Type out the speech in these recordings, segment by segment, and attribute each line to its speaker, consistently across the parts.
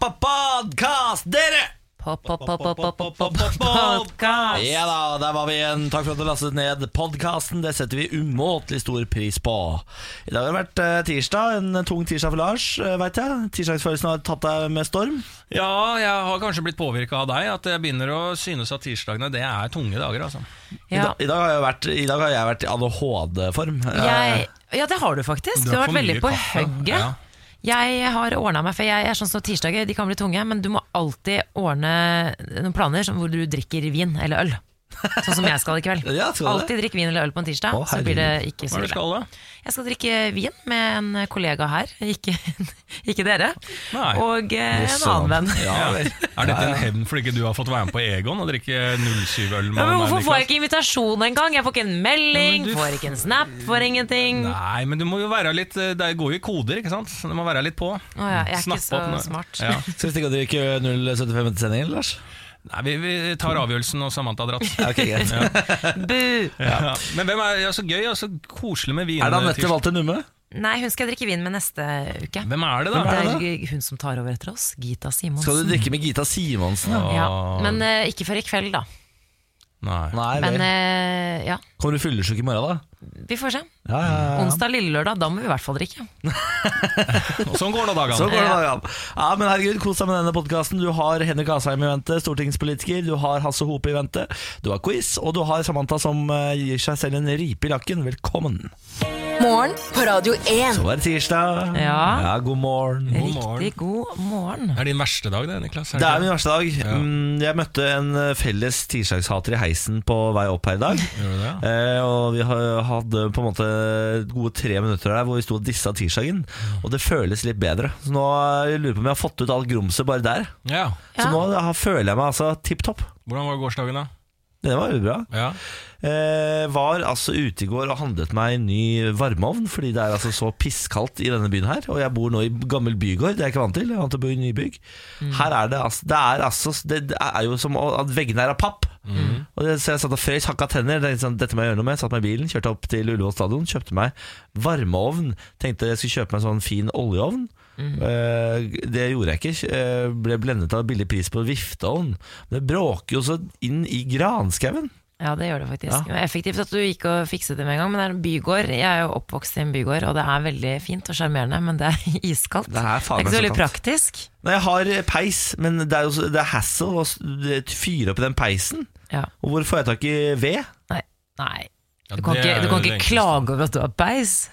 Speaker 1: Podkast, dere!
Speaker 2: Podkast!
Speaker 1: Ja da, der var vi igjen. Takk for at du lastet ned podkasten. Det setter vi umåtelig stor pris på. I dag har det vært eh, tirsdag, en tung tirsdag for Lars, eh, vet jeg. Tirsdagsfølelsen har tatt deg med storm.
Speaker 2: Ja, jeg har kanskje blitt påvirka av deg. At jeg begynner å synes at tirsdagene det er tunge dager. altså
Speaker 1: I,
Speaker 3: Ja.
Speaker 1: dag, i, dag har jeg vært, I dag har jeg vært i ADHD-form.
Speaker 3: Jeg, ja, det har du faktisk.
Speaker 2: Du
Speaker 3: Du
Speaker 2: har
Speaker 3: har
Speaker 2: for
Speaker 3: vært veldig
Speaker 2: mye
Speaker 3: på
Speaker 2: kaffe.
Speaker 3: hugget.
Speaker 2: Ja.
Speaker 3: Jeg har ordna meg, for jeg er sånn som tirsdager, de kan bli tunge, men du må alltid ordne noen planer som- hvor du drikker vin eller øl. Sånn som jeg skal i kveld.
Speaker 1: Ja, skal du det?
Speaker 3: Alltid drikke vin eller øl på en tirsdag,
Speaker 1: Å,
Speaker 3: så blir det ikke
Speaker 2: Hva
Speaker 3: så
Speaker 2: er det du
Speaker 3: ille.
Speaker 2: skal, da?
Speaker 3: Jeg skal drikke vin med en kollega her, ikke, ikke dere,
Speaker 2: Nei.
Speaker 3: og eh, en
Speaker 1: Mosse,
Speaker 3: annen venn.
Speaker 1: Ja,
Speaker 2: Ja.
Speaker 1: vel.
Speaker 2: Er dette en hevn for ikke du har fått være med på Egon og drikke 07-øl med
Speaker 3: Ja, men
Speaker 2: meg,
Speaker 3: hvorfor får jeg
Speaker 2: Niklas?
Speaker 3: ikke invitasjon engang? Jeg får ikke en melding,
Speaker 2: Ja, men du-
Speaker 3: får ikke en snap, får ingenting.
Speaker 2: Nei, men du må jo være litt eh, Det går jo i koder, ikke sant? Så du må være litt på.
Speaker 3: Å ja, jeg er ikke
Speaker 2: Snappe
Speaker 3: så
Speaker 2: opp nå.
Speaker 3: smart.
Speaker 2: Ja.
Speaker 1: Skal vi stikke og drikke 075 etter sendingen, Lars?
Speaker 2: Nei, vi, vi tar avgjørelsen når Samantha har dratt.
Speaker 1: Ja, ok, greit.
Speaker 3: Bu!
Speaker 2: Ja. Men hvem er ja, så gøy og så koselig med vin? eh,
Speaker 1: Er det Anette Walter Numme?
Speaker 3: Nei, hun skal jeg drikke vin med neste uke.
Speaker 2: Hvem er det, da?
Speaker 1: Hvem er det?
Speaker 3: det er hun som tar over etter oss. Gita Simonsen.
Speaker 1: Skal du drikke med Gita Simonsen? Ja?
Speaker 3: Ja, Men eh, ikke før i kveld, da.
Speaker 2: Nei.
Speaker 1: Nei,
Speaker 3: Men
Speaker 1: vel.
Speaker 3: eh, ja,
Speaker 1: Kommer du fyllesyk i morgen, da?
Speaker 3: vi får se.
Speaker 1: Ja, ja, ja.
Speaker 3: Onsdag, lillelørdag, da må vi i hvert fall drikke.
Speaker 2: Og sånn går nå
Speaker 1: Så
Speaker 2: dagene.
Speaker 1: går det da, Jan. Ja, men herregud, Kos deg med denne podkasten. Du har Henrik Asheim i vente, stortingspolitiker. Du har Hasse Hope i vente. Du har quiz, og du har Samantha som eh, gir seg selv en ripe i lakken. Velkommen.
Speaker 4: Morgen på Radio 1.
Speaker 1: Så er det tirsdag.
Speaker 3: Ja.
Speaker 1: God morgen.
Speaker 2: God morgen.
Speaker 3: Riktig god morgen.
Speaker 2: Er det din verste dag, det, Niklas?
Speaker 1: Det er
Speaker 2: ikke
Speaker 1: min verste dag. Mm, Jeg møtte en eh, felles tirsdagshater i heisen på vei opp her i dag.
Speaker 2: Gjorde du det?
Speaker 1: Eh, og vi ha- hadde på en måte gode tre minutter der hvor vi sto og dissa tirsdagen. Og det føles litt bedre. Så nå eh, jeg lurer på om jeg har fått ut alt grumset bare der.
Speaker 2: Ja.
Speaker 1: Så
Speaker 3: Ja.
Speaker 1: nå har- føler jeg meg altså tipp topp.
Speaker 2: Hvordan var gårsdagen, da?
Speaker 1: Det var jo bra.
Speaker 2: Ja.
Speaker 1: Eh, var altså ute i går og handlet meg en ny varmeovn, fordi det er altså så pisskaldt i denne byen her. Og jeg bor nå i gammel bygård, det er jeg ikke vant til. Jeg er vant til å bo i nybygg. Her er det altså Det er, altså, det det er jo som å- at veggene er av papp. Og det, så jeg satt og frøs, hakka tenner. tenkte Sånn, Dette må jeg gjøre noe med. Satt meg i bilen, kjørte opp til Ullevål stadion, kjøpte meg varmeovn. Tenkte jeg skulle kjøpe meg en sånn fin oljeovn. Eh, det gjorde jeg ikke. Eh, ble blendet av billig pris på vifteovn. Men det bråker jo så inn i granskauen.
Speaker 3: Ja, det gjør det
Speaker 1: Ja.
Speaker 3: faktisk. Effektivt at du gikk og fikset det med en gang. Men det er en bygård. Jeg er jo oppvokst i en bygård, og det er veldig fint og sjarmerende, men det er iskaldt.
Speaker 1: Det er faen
Speaker 3: ikke så
Speaker 1: meg så
Speaker 3: veldig
Speaker 1: kaldt.
Speaker 3: praktisk.
Speaker 1: Nei, jeg har peis, men det er jo så- det er hassle å s- fyre opp i den peisen.
Speaker 3: Ja.
Speaker 1: Og hvor får jeg tak i ved?
Speaker 3: Nei. Nei.
Speaker 2: Ja,
Speaker 3: Du kan
Speaker 2: det er
Speaker 3: ikke, du
Speaker 2: jo
Speaker 3: kan
Speaker 2: det
Speaker 3: ikke
Speaker 2: enkleste.
Speaker 3: klage over at du har peis.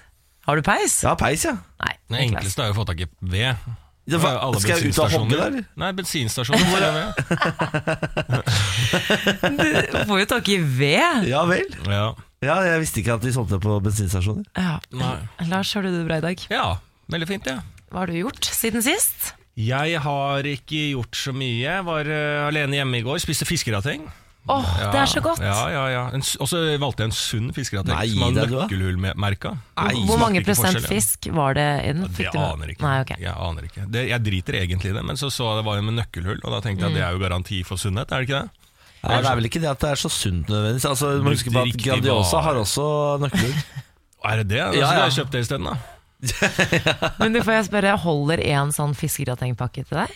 Speaker 3: Har du peis?
Speaker 1: Jeg har peis, ja.
Speaker 3: Nei.
Speaker 2: Det
Speaker 3: Niklas.
Speaker 2: enkleste er jo å få tak i ved.
Speaker 1: Det
Speaker 2: Det er jo alle
Speaker 1: var, skal jeg ut og hogge
Speaker 2: bensinstasjoner.
Speaker 1: der?
Speaker 2: Nei, bensinstasjoner. får jeg ved.
Speaker 3: Du får jo tak i ved.
Speaker 1: Ja vel.
Speaker 2: Ja.
Speaker 1: Ja, jeg visste ikke at de solgte det på bensinstasjoner.
Speaker 3: Ja.
Speaker 2: Nei.
Speaker 3: Lars, har du det bra i dag?
Speaker 2: ja. Veldig fint, det. Ja.
Speaker 3: Hva har du gjort siden sist?
Speaker 2: Jeg har ikke gjort så mye. Jeg var eh, alene hjemme i går, spiste fiskerateng.
Speaker 3: Åh, det er så godt!
Speaker 2: Ja, ja, ja. En s- Og så valgte jeg en sunn fiskerateng
Speaker 1: Nei,
Speaker 2: som har
Speaker 1: det er du, da.
Speaker 2: nøkkelhullmerka.
Speaker 3: Hvor
Speaker 2: smaker
Speaker 3: mange
Speaker 2: ikke
Speaker 3: prosent
Speaker 2: forskjell, ja.
Speaker 3: fisk var det i den?
Speaker 2: Det
Speaker 3: Fikk du med-
Speaker 2: aner jeg ikke.
Speaker 3: Nei, ok.
Speaker 2: Jeg aner ikke. Det, jeg driter egentlig i det, men så så jeg det var en med nøkkelhull, og da tenkte
Speaker 3: Mm.
Speaker 2: jeg at det er jo garanti for sunnhet, er det ikke det?
Speaker 1: Ja, det er vel ikke det at det er så sunt nødvendigvis. Altså, du må huske på at
Speaker 2: Riktig
Speaker 1: Grandiosa
Speaker 2: vare.
Speaker 1: har også nøkler.
Speaker 2: Er det det? Da
Speaker 1: Ja,
Speaker 2: skulle
Speaker 1: ja.
Speaker 2: jeg kjøpt det isteden, da.
Speaker 3: Men du får jeg spørre, holder en sånn fiskegratengpakke til deg?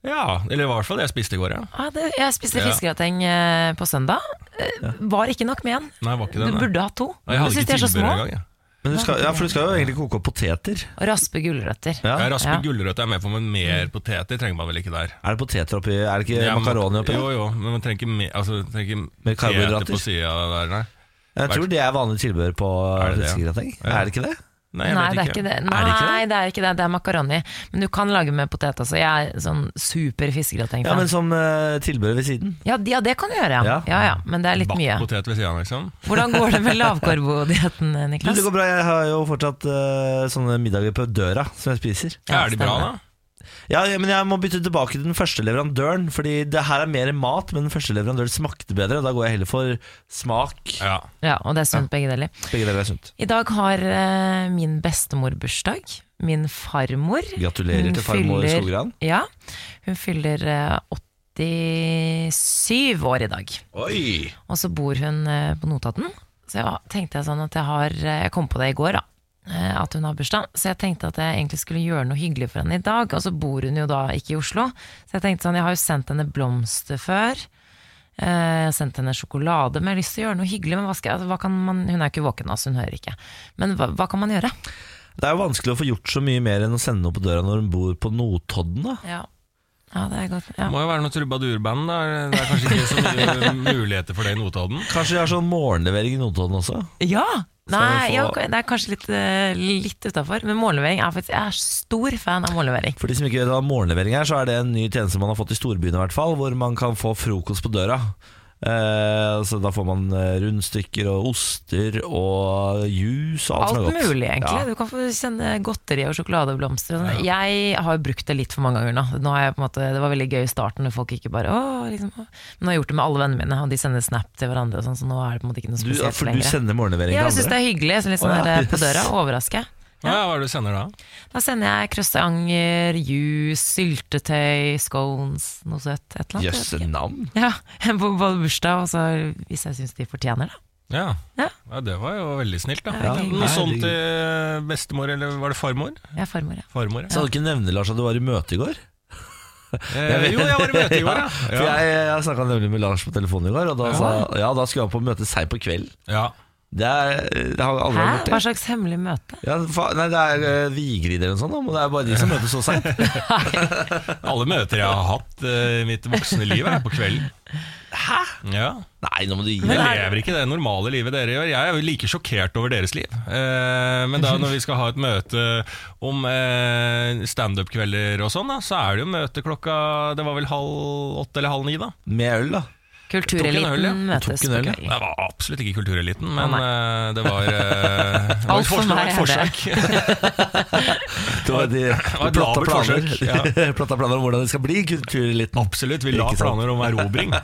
Speaker 2: Ja, eller i hvert fall det jeg spiste i går, ja.
Speaker 3: Ah, det, jeg spiste
Speaker 2: Ja.
Speaker 3: fiskegrateng eh, på søndag. Eh, Var ikke nok med en.
Speaker 2: Nei, var ikke
Speaker 3: Du
Speaker 2: det, nei.
Speaker 3: burde hatt to. Du
Speaker 2: Jeg hadde
Speaker 3: synes de
Speaker 2: ikke
Speaker 3: er så
Speaker 2: tilbehør
Speaker 3: små.
Speaker 2: engang. jeg.
Speaker 1: Men du skal, ja, for du skal jo egentlig koke opp poteter.
Speaker 3: Og raspe gulrøtter.
Speaker 1: Ja.
Speaker 2: Jeg rasper
Speaker 3: Ja.
Speaker 2: gulrøtter er med på, men mer poteter trenger man vel ikke der.
Speaker 1: Er det poteter oppi? Er det ikke
Speaker 2: Ja, men-
Speaker 1: makaroni oppi?
Speaker 2: Jo, jo, men man trenger ikke mer altså, trenger ikke
Speaker 1: Med karbohydrater?
Speaker 2: poteter på sida der, nei.
Speaker 1: Jeg tror det er vanlig tilbehør på
Speaker 2: Er det det, ja?
Speaker 1: fiskegrateng.
Speaker 2: Ja.
Speaker 1: Er det ikke det?
Speaker 2: Nei, jeg
Speaker 3: Nei,
Speaker 2: vet
Speaker 3: det er ikke det.
Speaker 2: Er det ikke det?
Speaker 3: Nei, det er ikke det. Det er makaroni. Men du kan lage med potet også. Jeg er sånn super fiskegrateng.
Speaker 1: Ja, men som eh, tilbehør ved siden.
Speaker 3: Ja, d- ja, det kan du gjøre, ja.
Speaker 1: Ja.
Speaker 3: ja, ja men det er litt
Speaker 2: Bakt
Speaker 3: mye.
Speaker 2: potet ved siden av, liksom.
Speaker 3: Hvordan går det med lavkarbodietten,
Speaker 1: Du,
Speaker 3: Niklas?
Speaker 1: det går bra. Jeg har jo fortsatt eh, sånne middager på døra som jeg spiser.
Speaker 3: Ja,
Speaker 2: er de bra, da?
Speaker 3: stemmer.
Speaker 1: Ja, ja, men jeg må bytte tilbake til den første leverandøren, fordi det her er mer mat, men den første leverandøren smakte bedre, og da går jeg heller for smak.
Speaker 2: Ja.
Speaker 3: Ja, og det er sunt begge deler.
Speaker 1: Begge deler er sunt.
Speaker 3: I dag har eh, min bestemor bursdag. Min farmor.
Speaker 1: Gratulerer
Speaker 3: Hun
Speaker 1: til farmor
Speaker 3: fyller-
Speaker 1: Skogran.
Speaker 3: Ja, hun fyller eh, 87 år i dag.
Speaker 1: Oi!
Speaker 3: Og så bor hun eh, på Notodden. Så jeg tenkte jeg sånn at jeg har eh, Jeg kom på det i går, da. eh, at hun har bursdag, så jeg tenkte at jeg egentlig skulle gjøre noe hyggelig for henne i dag. Og så bor hun jo da ikke i Oslo, så jeg tenkte sånn, jeg har jo sendt henne blomster før. Eh, Jeg har sendt henne sjokolade, men jeg har lyst til å gjøre noe hyggelig. Men hva skal, jeg- altså, hva kan man, hun er jo ikke våken, altså, hun hører ikke. Men hva, hva kan man gjøre?
Speaker 1: Det er jo vanskelig å få gjort så mye mer enn å sende noe på døra når hun bor på Notodden. da
Speaker 3: Ja, ja det er godt. Ja.
Speaker 2: Må jo være noe trubadurband. da. Det er kanskje ikke så mye muligheter for det i Notodden.
Speaker 1: Kanskje de har sånn morgenlevering i Notodden også?
Speaker 3: Ja! Nei,
Speaker 1: vi få-
Speaker 3: ja, ok, det er kanskje litt, eh, litt utafor. Men mållevering er faktisk Jeg er stor fan av mållevering.
Speaker 1: For de som ikke vet hva morgenlevering er, så er det en ny tjeneste man har fått i storbyen i hvert fall, hvor man kan få frokost på døra. Eh, så da får man eh, rundstykker og oster og juice og alt,
Speaker 3: Alt
Speaker 1: som er godt.
Speaker 3: mulig, egentlig.
Speaker 1: Ja.
Speaker 3: Du kan få sende godteri og sjokoladeblomster. og sånn. Jeg har jo brukt det litt for mange ganger nå. nå har jeg på en måte, det var veldig gøy i starten når folk ikke bare Åh, liksom. «Åh». Men nå har jeg gjort det med alle vennene mine, og de sender snap til hverandre, og sånn, så nå er det på en måte ikke noe
Speaker 1: Du,
Speaker 3: spesielt
Speaker 1: for du
Speaker 3: lenger.
Speaker 1: sender morgenlevering
Speaker 3: Ja, jeg
Speaker 1: til
Speaker 3: syns det
Speaker 1: andre?
Speaker 3: er hyggelig. Så litt sånn
Speaker 1: Å, ja.
Speaker 3: der, eh, på døra, overraske.
Speaker 2: Ja, hva er det du sender da?
Speaker 3: Da sender jeg croissanter, juice, syltetøy, scones, noe søtt, et eller annet. jeg vet
Speaker 1: Jøsse
Speaker 3: ikke.
Speaker 1: navn!
Speaker 3: Ja, på både bursdag og så hvis jeg syns de fortjener det.
Speaker 2: Ja.
Speaker 3: Ja.
Speaker 2: ja, det var jo veldig snilt, da.
Speaker 3: Ja,
Speaker 2: Noe
Speaker 1: herregud.
Speaker 2: sånt til bestemor, eller var det farmor?
Speaker 3: Jeg er farmor, ja.
Speaker 1: Så
Speaker 2: Farmor, ja.
Speaker 1: hadde du ikke nevne Lars at du var i møte i går?
Speaker 2: Eh, jo, jeg var i møte i går,
Speaker 1: For
Speaker 2: ja. ja.
Speaker 1: jeg, jeg snakka nemlig med Lars på telefonen i går, og da, sa, ja, da skulle han på møte seint på kvelden.
Speaker 2: ja.
Speaker 1: Det, er, det har aldri
Speaker 3: Hæ?
Speaker 1: vært
Speaker 3: Hva
Speaker 1: borti.
Speaker 3: slags hemmelig møte?
Speaker 1: Ja, fa, nei, det er uh, Vigrid eller noe sånt, da, men det er bare de som møtes så seint.
Speaker 2: Alle møter jeg har hatt eh, i mitt voksne liv, er på kvelden. Hæ? Ja.
Speaker 1: Nei, nå må du gi
Speaker 2: Jeg
Speaker 1: deg.
Speaker 2: lever ikke det normale livet dere gjør. Jeg er jo like sjokkert over deres liv. Eh, men da når vi skal ha et møte om eh, standup-kvelder og sånn, da, så er det jo møte klokka Det var vel halv åtte eller halv ni, da.
Speaker 1: Med øl, da.
Speaker 3: Kultureliten
Speaker 2: Tok en øl, ja.
Speaker 3: møtes
Speaker 1: Tok en øl,
Speaker 3: på
Speaker 1: ja.
Speaker 3: kvelden.
Speaker 2: Det var absolutt ikke kultureliten,
Speaker 3: Å,
Speaker 2: men eh, det var, eh, det var
Speaker 3: Alt for
Speaker 2: et forsøk- det var et
Speaker 3: meg er det.
Speaker 2: forsøk.
Speaker 1: Det var de,
Speaker 2: var et
Speaker 1: platta,
Speaker 2: labert
Speaker 1: planer,
Speaker 2: forsøk,
Speaker 1: platta planer om hvordan det skal bli kultureliten.
Speaker 2: Absolutt. Vi la
Speaker 1: Ikke sant?
Speaker 2: planer om erobring.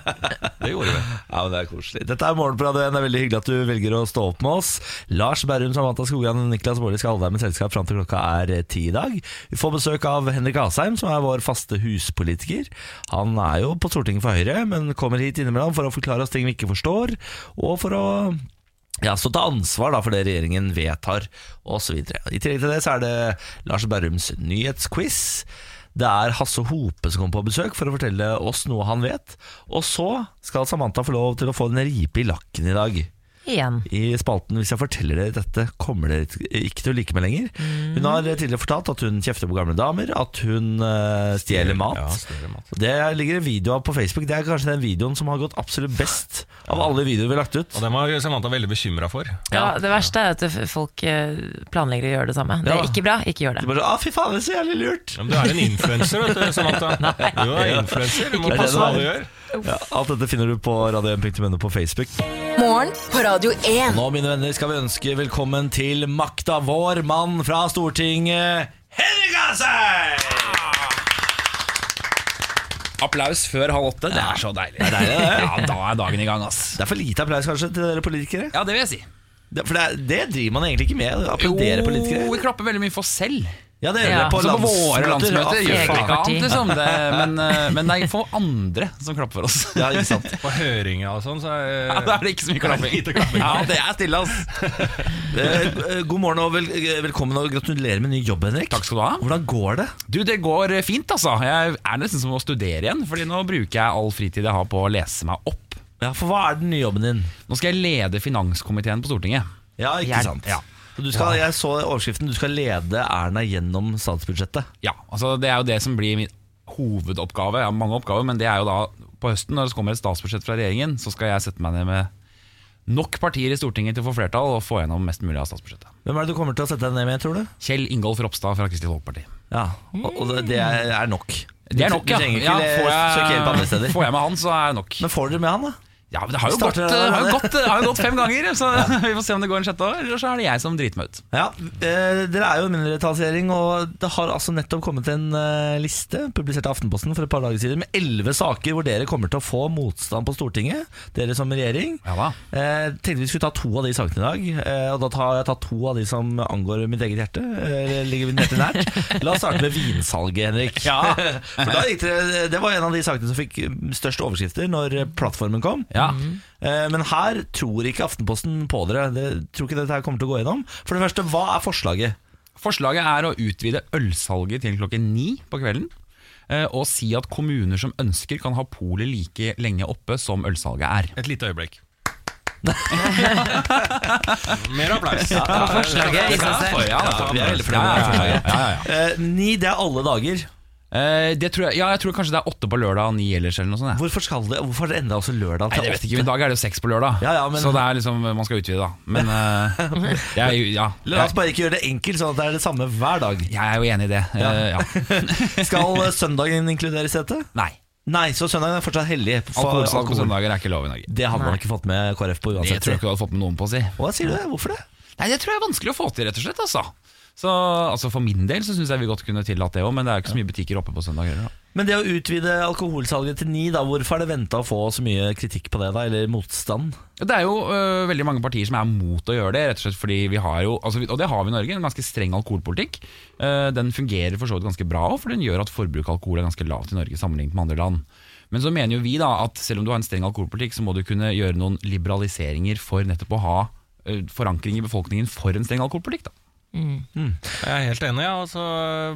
Speaker 2: Det gjorde vi.
Speaker 1: Ja, men det er koselig. Dette er Morgen på Radio 1. Det er veldig hyggelig at du velger å stå opp med oss. Lars Berrum, Samantha Skogran og Niklas Baarli skal holde deg med selskap fram til klokka er eh, ti i dag. Vi får besøk av Henrik Asheim, som er vår faste huspolitiker. Han er jo på Stortinget for Høyre, men kommer hit innimellom for å forklare oss ting vi ikke forstår, og for å ja, så ta ansvar da for det regjeringen vedtar, osv. I tillegg til det så er det Lars Berrums nyhetsquiz. Det er Hasse Hope som kommer på besøk for å fortelle oss noe han vet. Og så skal Samantha få lov til å få en ripe i lakken i dag.
Speaker 3: Igjen.
Speaker 1: I spalten Hvis jeg forteller dere dette, kommer dere ikke til å like meg lenger. Hun har tidligere fortalt at hun kjefter på gamle damer, at hun eh, stjeler mat.
Speaker 2: Ja, større mat.
Speaker 1: Det ligger en video av på Facebook. Det er kanskje den videoen som har gått absolutt best av alle videoer vi har lagt ut.
Speaker 2: Og den var Samantha veldig bekymra for.
Speaker 3: Ja, det verste er at f- folk eh, planlegger å gjøre det samme. Det
Speaker 1: Ja.
Speaker 3: er ikke bra, ikke
Speaker 1: Du
Speaker 3: gjør det.
Speaker 1: bare, ah, fy faen, det er så jævlig lurt!
Speaker 2: Ja, Men du er en influenser, vet du, Samantha. Du er influenser, du må
Speaker 1: Ikke
Speaker 2: passe
Speaker 1: bare
Speaker 2: hva
Speaker 1: det.
Speaker 2: du gjør.
Speaker 1: Ja, alt dette finner du på radio1.no på Facebook.
Speaker 4: Morgen på Radio 1.
Speaker 1: Nå, mine venner, skal vi ønske velkommen til makta vår mann fra Stortinget, Henrik Asheim!
Speaker 5: Applaus før halv åtte, det er så deilig.
Speaker 1: er deilig, det.
Speaker 5: Ja, da er dagen i gang, ass.
Speaker 1: Det er for lite applaus kanskje til dere politikere?
Speaker 5: Ja, det vil jeg si.
Speaker 1: Det, for det, er- det driver man egentlig ikke med, å applaudere
Speaker 5: Jo, vi
Speaker 1: politikere.
Speaker 5: klapper veldig mye for oss selv.
Speaker 1: Ja, det gjør
Speaker 3: Ja.
Speaker 1: dere på
Speaker 5: Altså, på våre landsmøter
Speaker 1: landsmøter.
Speaker 5: gjør vi
Speaker 1: Ja,
Speaker 5: ikke
Speaker 1: fy faen.
Speaker 5: annet,
Speaker 3: parti.
Speaker 5: liksom. Det, men, eh, men det er for andre som klapper for oss.
Speaker 1: Ja, ikke sant.
Speaker 2: På høringa og sånn, så er,
Speaker 5: Ja, da er det ikke så mye klapping. Ja, det er stille, ass.
Speaker 1: Eh, eh, God morgen og vel, eh, velkommen og gratulerer med ny jobb, Henrik.
Speaker 5: Takk skal du ha.
Speaker 1: Hvordan går det?
Speaker 5: Du, det går fint, altså. Jeg er nesten som å studere igjen, Fordi nå bruker jeg all fritid jeg har på å lese meg opp.
Speaker 1: Ja, For hva er den nye jobben din?
Speaker 5: Nå skal jeg lede finanskomiteen på Stortinget.
Speaker 1: Ja, ikke
Speaker 5: Jeg-
Speaker 1: sant.
Speaker 5: ja.
Speaker 1: Så Du skal, jeg så overskriften 'Du skal lede Erna gjennom statsbudsjettet'.
Speaker 5: Ja, altså det er jo det som blir min hovedoppgave. Jeg har mange oppgaver, men det er jo da på høsten, når det kommer et statsbudsjett fra regjeringen, så skal jeg sette meg ned med nok partier i Stortinget til å få flertall og få gjennom mest mulig av statsbudsjettet.
Speaker 1: Hvem er det du kommer til å sette deg ned med, tror du?
Speaker 5: Kjell Ingolf Ropstad fra Kristelig Folkeparti.
Speaker 1: Ja, og og det, det er er nok.
Speaker 5: Det er nok,
Speaker 1: Du
Speaker 5: ja.
Speaker 1: trenger ikke
Speaker 5: ja
Speaker 1: søke hjelp andre
Speaker 5: får, jeg,
Speaker 1: steder.
Speaker 5: får jeg med han, så er det nok.
Speaker 1: Men får dere med han, da?
Speaker 5: Ja, men Det har jo, gått,
Speaker 1: Starter
Speaker 5: det har jo,
Speaker 1: allerede.
Speaker 5: gått, det har jo gått fem ganger, så vi får se om det går en sjette år. Eller så er det jeg som driter meg ut.
Speaker 1: Ja, eh, Dere er jo en mindretallsregjering, og det har altså nettopp kommet en eh, liste publisert av Aftenposten for et par dager siden med elleve saker hvor dere kommer til å få motstand på Stortinget, dere som regjering.
Speaker 5: Ja da.
Speaker 1: Eh, tenkte vi skulle ta to av de sakene i dag. Eh, og da tar jeg tatt to av de som angår mitt eget hjerte. Eh, ligger mitt hjerte nært. La oss starte med vinsalget, Henrik. For da gikk det, det var en av de sakene som fikk størst overskrifter når plattformen kom.
Speaker 5: Ja.
Speaker 1: Eh, Men her tror ikke Aftenposten på dere. Det, tror ikke dette her kommer til å gå gjennom. For det første, hva er forslaget?
Speaker 5: Forslaget er å utvide ølsalget til klokken ni på kvelden. eh, Og si at kommuner som ønsker kan ha polet like lenge oppe som ølsalget er.
Speaker 2: Et lite øyeblikk. Mer applaus.
Speaker 3: Forslaget i seg selv.
Speaker 5: Ja,
Speaker 2: Ja,
Speaker 1: vi er veldig fornøyd med det
Speaker 5: ja, ja, ja, ja.
Speaker 1: Eh, Ni, det er alle dager.
Speaker 5: Eh, Det tror jeg, ja, jeg tror kanskje det er åtte på lørdag og ni ellers eller noe sånt. jeg.
Speaker 1: Hvorfor, skal det, hvorfor har dere endra også lørdag
Speaker 5: Nei,
Speaker 1: til
Speaker 5: jeg vet
Speaker 1: åtte?
Speaker 5: ikke, I dag er det jo seks på lørdag,
Speaker 1: Ja, ja, men-
Speaker 5: så det er liksom, man skal utvide, da. Men eh, jeg, er jo- ja,
Speaker 1: La oss
Speaker 5: jeg,
Speaker 1: bare ikke gjøre det enkelt, sånn at det er det samme hver dag.
Speaker 5: jeg er jo enig i det. Eh,
Speaker 1: Ja.
Speaker 5: ja.
Speaker 1: Skal eh, søndagen inkluderes i dette?
Speaker 5: Nei.
Speaker 1: Nei, så søndagen er fortsatt hellig. for
Speaker 5: Alkoholsalg på
Speaker 1: alkohol.
Speaker 5: søndager er ikke lov i Norge.
Speaker 1: Det hadde man ikke fått med KrF på
Speaker 5: Det
Speaker 1: uansett.
Speaker 5: tror jeg ikke du hadde fått med noen på å si.
Speaker 1: Hva sier du? Hvorfor det?
Speaker 5: Nei, Det tror jeg er vanskelig å få til, rett og slett. altså så altså For min del så syns jeg vi godt kunne tillatt det òg, men det er jo ikke så mye butikker oppe på søndag heller. da.
Speaker 1: Men det å utvide alkoholsalget til ni, da, hvorfor er det venta å få så mye kritikk på det, da? Eller motstand?
Speaker 5: Det er jo øh, veldig mange partier som er mot å gjøre det, rett og slett fordi vi har jo, altså, vi- og det har vi i Norge, en ganske streng alkoholpolitikk. Eh, den fungerer for så vidt ganske bra òg, for den gjør at forbruket av alkohol er ganske lavt i Norge sammenlignet med andre land. Men så mener jo vi da at selv om du har en streng alkoholpolitikk, så må du kunne gjøre noen liberaliseringer for nettopp å ha eh, forankring i befolkningen for en streng alkoholpolitikk. da.
Speaker 3: Mm.
Speaker 2: Jeg er helt enig, ja. altså,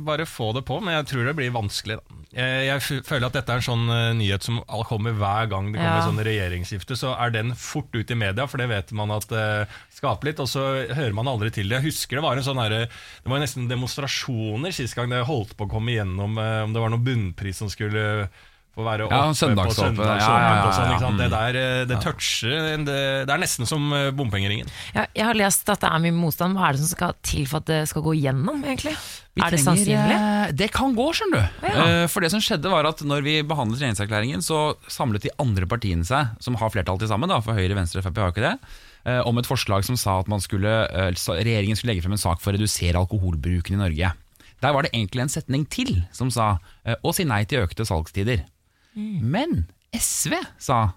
Speaker 2: bare få det på, men jeg tror det blir vanskelig. Da. Jeg, jeg f- føler at dette er en sånn eh, nyhet som all- kommer hver gang det kommer
Speaker 3: Ja.
Speaker 2: sånn regjeringsskifte, så er den fort ut i media, for det vet man at eh, skaper litt, og så hører man aldri til det. Jeg husker det var en sånn herre Det var jo nesten demonstrasjoner sist gang det holdt på å komme igjennom, eh, om det var noen bunnpris som skulle få være oppe
Speaker 5: Ja,
Speaker 2: på
Speaker 5: søndagsåpent.
Speaker 2: søndagsåpent.
Speaker 5: Ja, ja, ja,
Speaker 2: og sånn, ikke sant?
Speaker 5: ja. Mm.
Speaker 2: Det der, eh, det toucher det, det er nesten som eh, bompengeringen.
Speaker 3: Ja, jeg har lest at det er mye motstand. Hva er det som skal til for at det skal gå gjennom, egentlig?
Speaker 5: Vi
Speaker 3: er det
Speaker 5: trenger,
Speaker 3: sannsynlig?
Speaker 5: eh, Det kan gå, skjønner du. Eh, For det som skjedde var at når vi behandlet regjeringserklæringen, så samlet de andre partiene seg, som har flertall til sammen, da, for Høyre, Venstre og Frp har jo ikke det, eh, om et forslag som sa at man skulle, eh, sa- regjeringen skulle legge frem en sak for å redusere alkoholbruken i Norge. Der var det egentlig en setning til som sa eh, å si nei til økte salgstider.
Speaker 3: Mm.
Speaker 5: Men SV sa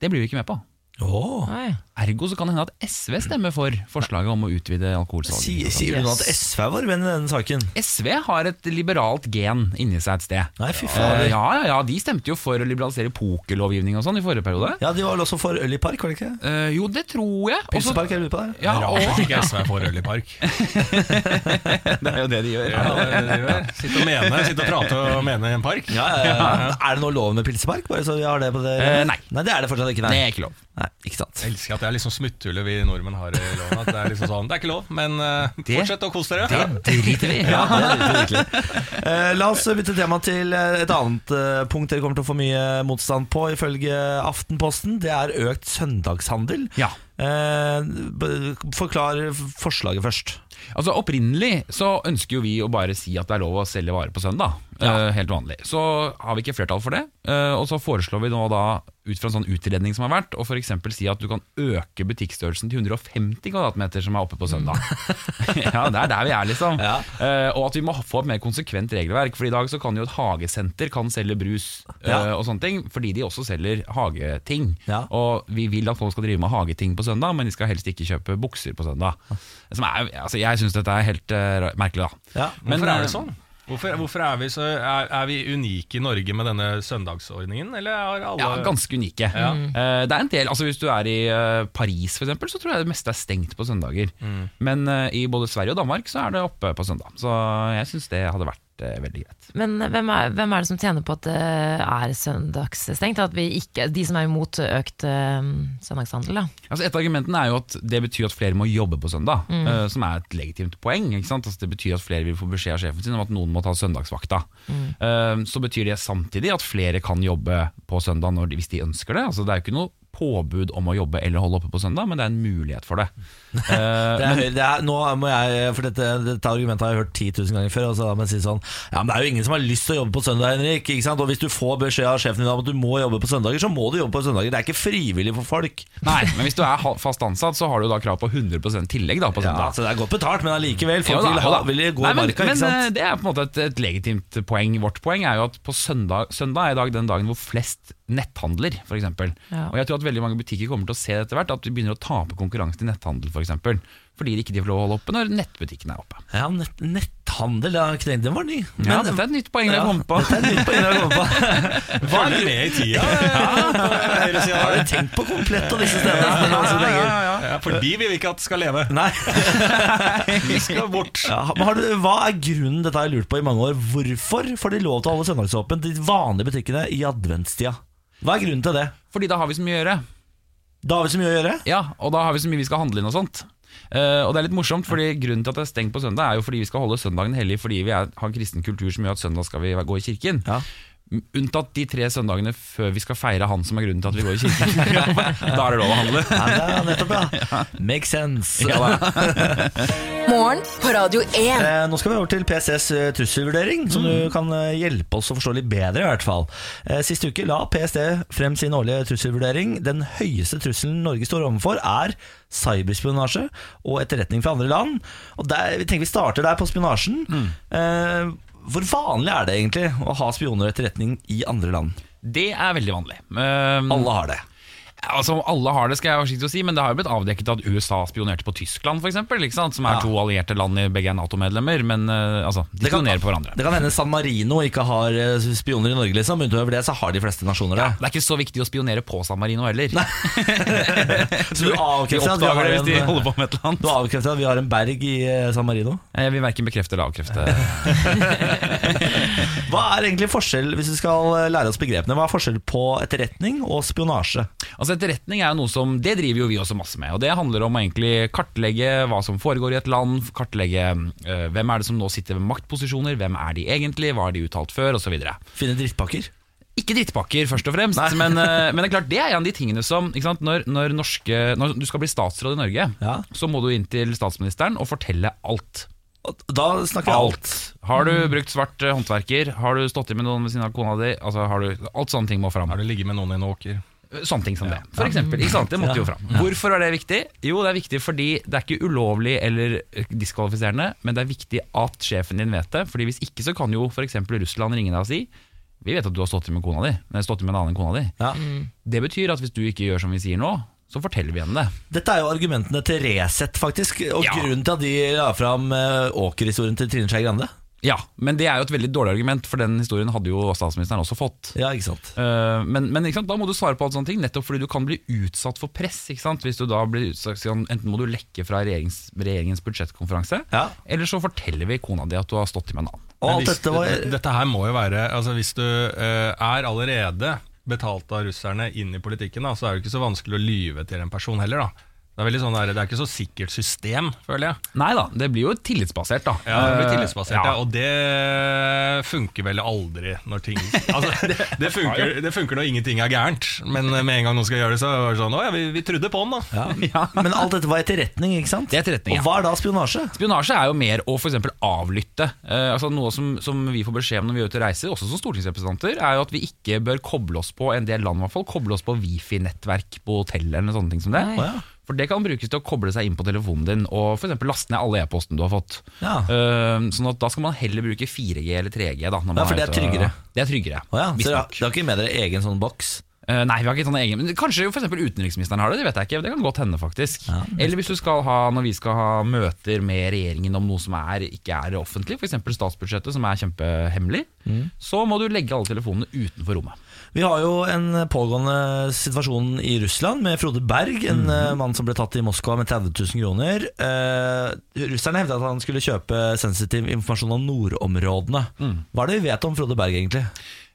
Speaker 5: det blir vi ikke med på.
Speaker 1: Oh.
Speaker 3: Oi.
Speaker 5: Ergo så kan det hende at SV stemmer for forslaget om å utvide alkoholsalget.
Speaker 1: Sier,
Speaker 5: sånn.
Speaker 1: sier du nå at SV er vår venn i denne saken?
Speaker 5: SV har et liberalt gen inni seg et sted.
Speaker 1: Nei, fy
Speaker 5: Eh,
Speaker 1: fader.
Speaker 5: ja, ja, ja, de stemte jo for å liberalisere pokerlovgivning og sånn i forrige periode.
Speaker 1: Ja, de var vel også for øl i park, var det ikke? det?
Speaker 5: Eh, jo, det tror jeg. Og så-
Speaker 1: Pølsepark, jeg lurer på det.
Speaker 5: ja, og,
Speaker 2: Rart at ikke SV er for øl i park.
Speaker 5: det er jo det de gjør.
Speaker 2: Ja, det det gjør. Sitte og mene, sitte og prate og mene i en park.
Speaker 1: Ja, ja, ja. Er det nå lov med pilsepark? Bare så vi har det på det
Speaker 5: Eh, nei.
Speaker 1: Nei, det er det fortsatt ikke.
Speaker 5: Det
Speaker 1: Nei,
Speaker 5: er ikke lov.
Speaker 1: nei ikke sant.
Speaker 2: Jeg elsker at det er liksom smutthullet vi nordmenn har i loven. At det er liksom sånn, det er ikke lov, men eh,
Speaker 5: Det-
Speaker 2: fortsett å kose dere. Ja.
Speaker 5: Driter vi
Speaker 1: Ja, det er virkelig, virkelig. Eh, la oss bytte tema til eh, et annet eh, punkt dere kommer til å få mye motstand på, ifølge Aftenposten. Det er økt søndagshandel.
Speaker 5: Ja.
Speaker 1: Eh, b- forklar f- forslaget først.
Speaker 5: Altså Opprinnelig så ønsker jo vi å bare si at det er lov å selge varer på søndag. Eh, helt vanlig. Så har vi ikke flertall for det. eh, og så foreslår vi nå da, ut fra en sånn utredning som har vært, å f.eks. si at du kan øke butikkstørrelsen til 150 kvadratmeter som er oppe på søndag. ja, det er der vi er, liksom.
Speaker 1: Mm. Ja.
Speaker 5: Eh, og at vi må få et mer konsekvent regelverk. For i dag så kan jo et hagesenter kan selge brus eh,
Speaker 1: Ja.
Speaker 5: og sånne ting, fordi de også selger hageting.
Speaker 1: Ja.
Speaker 5: Og vi vil at folk skal drive med hageting på søndag, men de skal helst ikke kjøpe bukser på søndag. Som er, altså, jeg syns dette er helt eh, ra- merkelig, da.
Speaker 1: Ja.
Speaker 5: Men,
Speaker 2: Hvorfor
Speaker 5: eh,
Speaker 2: er det sånn? Hvorfor, hvorfor er, vi så, er, er vi unike i Norge med denne søndagsordningen, eller har alle
Speaker 5: Ja, ganske unike. Eh, det er en del, altså Hvis du er i eh, Paris, for eksempel, så tror jeg det meste er stengt på søndager. Men eh, i både Sverige og Danmark så er det oppe på søndag. Så jeg syns det hadde vært eh, veldig greit.
Speaker 3: Men hvem er, hvem er det som tjener på at det er søndagsstengt? At vi ikke, de som er imot økt eh, søndagshandel, da.
Speaker 5: Altså Et av argumentene er jo at det betyr at flere må jobbe på søndag,
Speaker 1: Mm.
Speaker 5: eh, som er et legitimt poeng. ikke sant? Altså Det betyr at flere vil få beskjed av sjefen sin om at noen må ta søndagsvakta.
Speaker 1: Mm.
Speaker 5: Eh, Så betyr det samtidig at flere kan jobbe på søndag når de, hvis de ønsker det. Altså Det er jo ikke noe påbud om å jobbe eller holde oppe på søndag, men det er en mulighet for det. Eh,
Speaker 1: Det er, høy- det er, nå må jeg, for dette, dette argumentet har jeg hørt 10 000 ganger før. Og så da må jeg si sånn Ja, men det er jo ingen som har lyst til å jobbe på søndag, Henrik. Ikke sant? Og hvis du får beskjed av sjefen din om at du må jobbe på søndager, så må du jobbe på søndager. Det er ikke frivillig for folk.
Speaker 5: Nei, men hvis du er ha- fast ansatt, så har du da krav på 100 tillegg da, på
Speaker 1: Ja,
Speaker 5: søndag.
Speaker 1: så det er godt betalt, men allikevel. Folk
Speaker 5: Jo da,
Speaker 1: vil,
Speaker 5: jo
Speaker 1: ha,
Speaker 5: da.
Speaker 1: vil gå
Speaker 5: Nei,
Speaker 1: i
Speaker 5: men,
Speaker 1: marka,
Speaker 5: men,
Speaker 1: ikke sant?
Speaker 5: eh, det er på en måte et, et legitimt poeng. Vårt poeng er jo at på søndag, søndag er i dag den dagen hvor flest netthandler, f.eks.
Speaker 3: Ja.
Speaker 5: Og jeg tror at veldig mange butikker kommer til å se det etter hvert, at vi begynner å tape konkurransen i netthandel, f.eks. fordi de ikke får lov å holde oppe når nettbutikken er oppe.
Speaker 1: Ja, nett, netthandel, ja, knekk, den var ny.
Speaker 5: Ja,
Speaker 1: Men-
Speaker 5: dette er et nytt poeng jeg kom på.
Speaker 1: Dette er et nytt poeng jeg kom på. Hva
Speaker 2: Følger med i tida. Ja,
Speaker 1: har du tenkt på komplett av disse stedene? Altså, det er gøy.
Speaker 2: ja, for de vil vi ikke at skal leve.
Speaker 1: Nei.
Speaker 2: De skal bort.
Speaker 1: Ja, men har du, hva er grunnen, dette har jeg lurt på i mange år, hvorfor får de lov til å holde søndagsåpent de vanlige butikkene i adventstida? Hva er grunnen til det?
Speaker 5: Fordi da har vi så mye å gjøre.
Speaker 1: Da har vi så mye å gjøre.
Speaker 5: Ja, og da har vi så mye vi skal handle inn og sånt. Eh, og det er litt morsomt, fordi Grunnen til at det er stengt på søndag, er jo fordi vi skal holde søndagen hellig fordi vi er, har kristen kultur som gjør at søndag skal vi gå i kirken.
Speaker 1: Ja.
Speaker 5: Unntatt de tre søndagene før vi skal feire han som er grunnen til at vi går i kirken. da er det lov å handle.
Speaker 1: Nei, det er nettopp, ja. Make sense.
Speaker 4: Morgen på Radio 1.
Speaker 1: Eh, nå skal vi over til PSTs eh, trusselvurdering,
Speaker 5: Mm.
Speaker 1: som du kan eh, hjelpe oss å forstå litt bedre. i hvert fall. Eh, sist uke la PST frem sin årlige trusselvurdering. Den høyeste trusselen Norge står overfor, er cyberspionasje og etterretning fra andre land. Og der, vi tenker vi starter der, på spionasjen.
Speaker 5: Mm.
Speaker 1: Eh, hvor vanlig er det egentlig å ha spioner og etterretning i andre land?
Speaker 5: Det er veldig vanlig. Eh,
Speaker 1: Alle har det.
Speaker 5: Altså om Alle har det, skal jeg være forsiktig å si, men det har jo blitt avdekket at USA spionerte på Tyskland, for eksempel, ikke sant? som er
Speaker 1: Ja.
Speaker 5: to allierte land, i- begge er Nato-medlemmer. Men eh, altså, de
Speaker 1: Det kan-
Speaker 5: spionerer på hverandre.
Speaker 1: Det kan hende San Marino ikke har eh, spioner i Norge, liksom. men Utover det så har de fleste nasjoner det.
Speaker 5: Det er ikke så viktig å spionere på San Marino heller.
Speaker 1: Så du
Speaker 5: de
Speaker 1: avkrefter at vi
Speaker 5: oppdager
Speaker 1: har
Speaker 5: det hvis de
Speaker 1: en- eh,
Speaker 5: holder på med et eller
Speaker 1: Du
Speaker 5: annet.
Speaker 1: avkrefter at vi har en berg i eh, San Marino?
Speaker 5: Jeg vil verken bekrefte eller avkrefte.
Speaker 1: Hva er egentlig forskjell, hvis vi skal eh, lære oss begrepene, hva er forskjell på etterretning og spionasje?
Speaker 5: Altså Etterretning er jo noe som Det driver jo vi også masse med. Og Det handler om å egentlig kartlegge hva som foregår i et land. Kartlegge eh, hvem er det som nå sitter ved maktposisjoner, hvem er de egentlig, hva har de uttalt før, osv.
Speaker 1: Finne drittpakker?
Speaker 5: Ikke drittpakker, først og fremst, men, eh, men det er klart det er en av de tingene som ikke sant? Når, når, norske, når du skal bli statsråd i Norge,
Speaker 1: Ja.
Speaker 5: så må du inn til statsministeren og fortelle alt.
Speaker 1: Og Da snakker vi alt.
Speaker 5: Har du brukt svart eh, håndverker? Har du stått i med noen ved siden av kona di? Altså, har du, alt sånne ting må fram.
Speaker 2: Har du ligget med noen i en åker?
Speaker 5: Eh, Sånne ting som det. For eksempel, ikke sant? Det måtte jo fram. Hvorfor er det viktig? Jo, det er viktig fordi det er ikke ulovlig eller eh, diskvalifiserende, men det er viktig at sjefen din vet det. Fordi hvis ikke så kan jo f.eks. Russland ringe deg og si Vi vet at du har stått i med kona di. Nei, stått i med en annen enn kona di.
Speaker 1: Ja.
Speaker 5: Det betyr at hvis du ikke gjør som vi sier nå, så forteller vi henne det.
Speaker 1: Dette er jo argumentene til Resett, faktisk. Og
Speaker 5: Ja.
Speaker 1: grunnen til at de la fram eh, Åker-historien til Trine Skei Grande.
Speaker 5: Ja, men det er jo et veldig dårlig argument, for den historien hadde jo statsministeren også fått.
Speaker 1: Ja, ikke sant?
Speaker 5: Eh, Men, men ikke sant? da må du svare på alle sånne ting, nettopp fordi du kan bli utsatt for press. Ikke sant? Hvis du da blir utsatt, sånn, Enten må du lekke fra regjerings, regjeringens budsjettkonferanse,
Speaker 1: Ja.
Speaker 5: eller så forteller vi kona di at du har stått i med en annen.
Speaker 1: Og
Speaker 2: Men
Speaker 1: alt
Speaker 2: hvis,
Speaker 1: dette var
Speaker 2: dette- dette her må jo være altså Hvis du eh, er allerede betalt av russerne inn i politikken, da, så er det jo ikke så vanskelig å lyve til en person heller. da det er, veldig sånn der, det er ikke så sikkert system, føler jeg.
Speaker 5: Nei da, det blir jo tillitsbasert, da.
Speaker 2: Ja, det blir
Speaker 5: Eh,
Speaker 2: tillitsbasert, ja. Og det funker vel aldri når ting altså, det, det, funker, det funker når ingenting er gærent, men med en gang noen skal gjøre det, så er det sånn Å ja, vi, vi trodde på den, da.
Speaker 1: ja. Men alt dette var etterretning, ikke sant?
Speaker 5: Det er etterretning, ja.
Speaker 1: Og hva er da spionasje?
Speaker 5: Spionasje er jo mer å for eksempel avlytte. Eh, altså Noe som, som vi får beskjed om når vi er ute og reiser, også som stortingsrepresentanter, er jo at vi ikke bør koble oss på en del land, i hvert fall, koble oss på wifi-nettverk på hoteller eller sånne ting som det.
Speaker 3: Nei.
Speaker 1: Å, ja.
Speaker 5: For det kan brukes til å koble seg inn på telefonen din og for eksempel laste ned alle e-posten du har fått.
Speaker 1: Ja.
Speaker 5: Eh, sånn at da skal man heller bruke 4G eller 3G. Da, når man
Speaker 1: Ja, for det er
Speaker 5: ute og-
Speaker 1: tryggere.
Speaker 5: Det er tryggere,
Speaker 1: Å ja. Så dere har-
Speaker 5: visstnok.
Speaker 1: dere har ikke med dere egen sånn boks?
Speaker 5: Eh, nei, vi har ikke sånne egen men Kanskje jo for eksempel utenriksministeren har det, det vet jeg ikke. Det kan godt hende, faktisk.
Speaker 1: Ja.
Speaker 5: Eller hvis du skal ha, når vi skal ha møter med regjeringen om noe som er, ikke er offentlig, f.eks. statsbudsjettet, som er kjempehemmelig,
Speaker 1: Mm.
Speaker 5: så må du legge alle telefonene utenfor rommet.
Speaker 1: Vi har jo en pågående situasjon i Russland med Frode Berg, en
Speaker 5: Mhm.
Speaker 1: eh, mann som ble tatt i Moskva med 30 000 kroner. Eh, russerne hevdet at han skulle kjøpe sensitiv informasjon om nordområdene.
Speaker 5: Mm.
Speaker 1: Hva er det vi vet om Frode Berg, egentlig?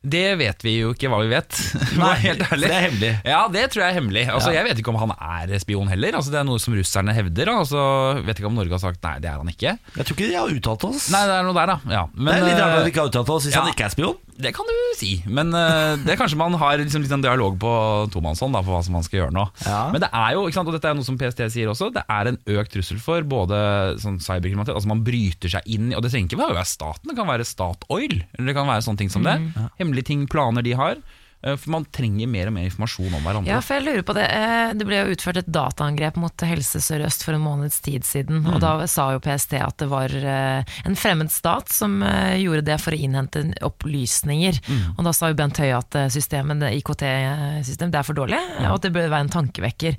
Speaker 5: Det vet vi jo ikke hva vi vet. for å være helt
Speaker 1: for
Speaker 5: ærlig.
Speaker 1: det er hemmelig.
Speaker 5: Ja, det tror jeg er hemmelig. Altså, Jeg vet ikke om han er spion heller. Altså, Det er noe som russerne hevder. da. Altså, vet ikke om Norge har sagt nei, det er han ikke.
Speaker 1: Jeg tror ikke de har uttalt oss.
Speaker 5: Nei, det er noe der, da. Ja.
Speaker 1: det
Speaker 5: Men,
Speaker 1: er litt rart
Speaker 5: eh,
Speaker 1: at de ikke har uttalt oss hvis
Speaker 5: ja.
Speaker 1: han ikke er spion.
Speaker 5: Det kan du si, men eh, det er kanskje man har liksom litt en dialog på tomannshånd da, for hva som man skal gjøre nå.
Speaker 1: Ja.
Speaker 5: Men det er jo, ikke sant, og dette er noe som PST sier også, det er en økt trussel for både sånn cyberkriminalitet, altså man bryter seg inn, i- og det
Speaker 1: Mm.
Speaker 5: trenger ikke være staten, det kan være Statoil, eller det kan være sånne ting som det. Hemmelige ting, planer de har. Eh, For man trenger mer og mer informasjon om hverandre.
Speaker 3: Ja, for jeg lurer på Det Eh, Det ble jo utført et dataangrep mot Helse Sør-Øst for en måneds tid siden.
Speaker 2: Mm.
Speaker 3: og Da sa jo PST at det var eh, en fremmed stat som eh, gjorde det for å innhente opplysninger.
Speaker 2: Mm.
Speaker 3: Og Da sa jo Bent Høie at eh, systemet, IKT-systemet det er for dårlig, og at det bør være en tankevekker.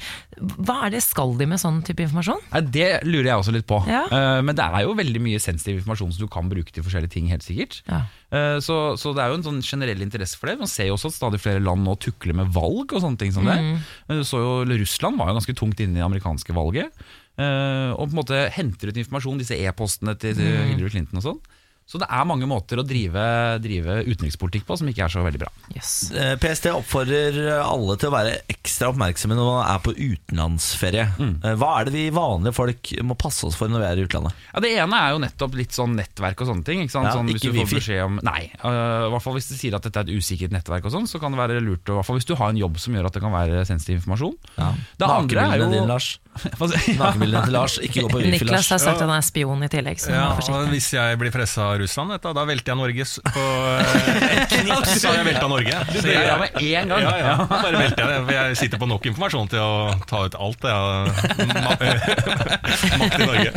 Speaker 3: Hva er det skal de med sånn type informasjon?
Speaker 5: Nei, Det lurer jeg også litt på.
Speaker 3: Ja.
Speaker 5: Eh, men det er jo veldig mye sensitiv informasjon som du kan bruke til forskjellige ting. helt sikkert.
Speaker 3: Ja.
Speaker 5: Eh, så, så det er jo en sånn generell interesse for det. Man ser jo også at stadig flere land nå tukler med valg og sånne ting som det.
Speaker 1: Mm.
Speaker 5: Men du så jo, eller Russland var jo ganske tungt inne i det amerikanske valget. eh, og på en måte henter ut informasjon, disse e-postene til til
Speaker 1: Mm.
Speaker 5: Hillary Clinton og sånn. Så det er mange måter å drive, drive utenrikspolitikk på som ikke er så veldig bra.
Speaker 3: Jøss.
Speaker 1: Eh, PST oppfordrer alle til å være ekstra oppmerksomme når man er på utenlandsferie.
Speaker 5: Mm.
Speaker 1: Eh, Hva er det vi vanlige folk må passe oss for når vi er i utlandet?
Speaker 5: Ja, Det ene er jo nettopp litt sånn nettverk og sånne ting. Ikke sant?
Speaker 1: Ja,
Speaker 5: sånn,
Speaker 1: ikke
Speaker 5: hvis du får
Speaker 1: wifi.
Speaker 5: beskjed om Nei. øh, I hvert fall hvis de sier at dette er et usikkert nettverk, og sånn, så kan det være lurt. Og, i hvert fall hvis du har en jobb som gjør at det kan være sensitiv informasjon. Det andre er jo
Speaker 1: Nakenbildene dine, Lars.
Speaker 5: Hva sier- ja.
Speaker 1: Nakenbildene til Lars, ikke gå på wifi,
Speaker 3: Niklas
Speaker 1: Lars.
Speaker 3: har sagt at han er spion i tillegg, så
Speaker 2: Ja,
Speaker 3: vær
Speaker 2: og
Speaker 3: forsiktig.
Speaker 2: hvis jeg blir pressa av Russland, vet du, da velter jeg Norge s- på eh, et knips. Så har jeg velta Norge. Så
Speaker 5: Det
Speaker 2: jeg-
Speaker 5: er jeg med en gang.
Speaker 2: Ja, ja. Bare velter jeg det. For jeg sitter på nok informasjon til å ta ut alt det jeg har makt i Norge.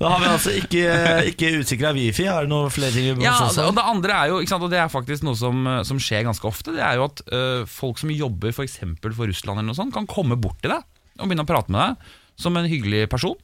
Speaker 1: Da har vi altså ikke, ikke utsikra wifi. Er det noen flere ting vi må
Speaker 5: Ja, altså-
Speaker 1: passe oss
Speaker 5: og
Speaker 1: for?
Speaker 5: det andre er jo, ikke sant, og det er faktisk noe som, eh, som skjer ganske ofte, det er jo at øh, folk som jobber for eksempel for Russland eller noe sånt, kan komme bort til deg og begynne å prate med deg som en hyggelig person,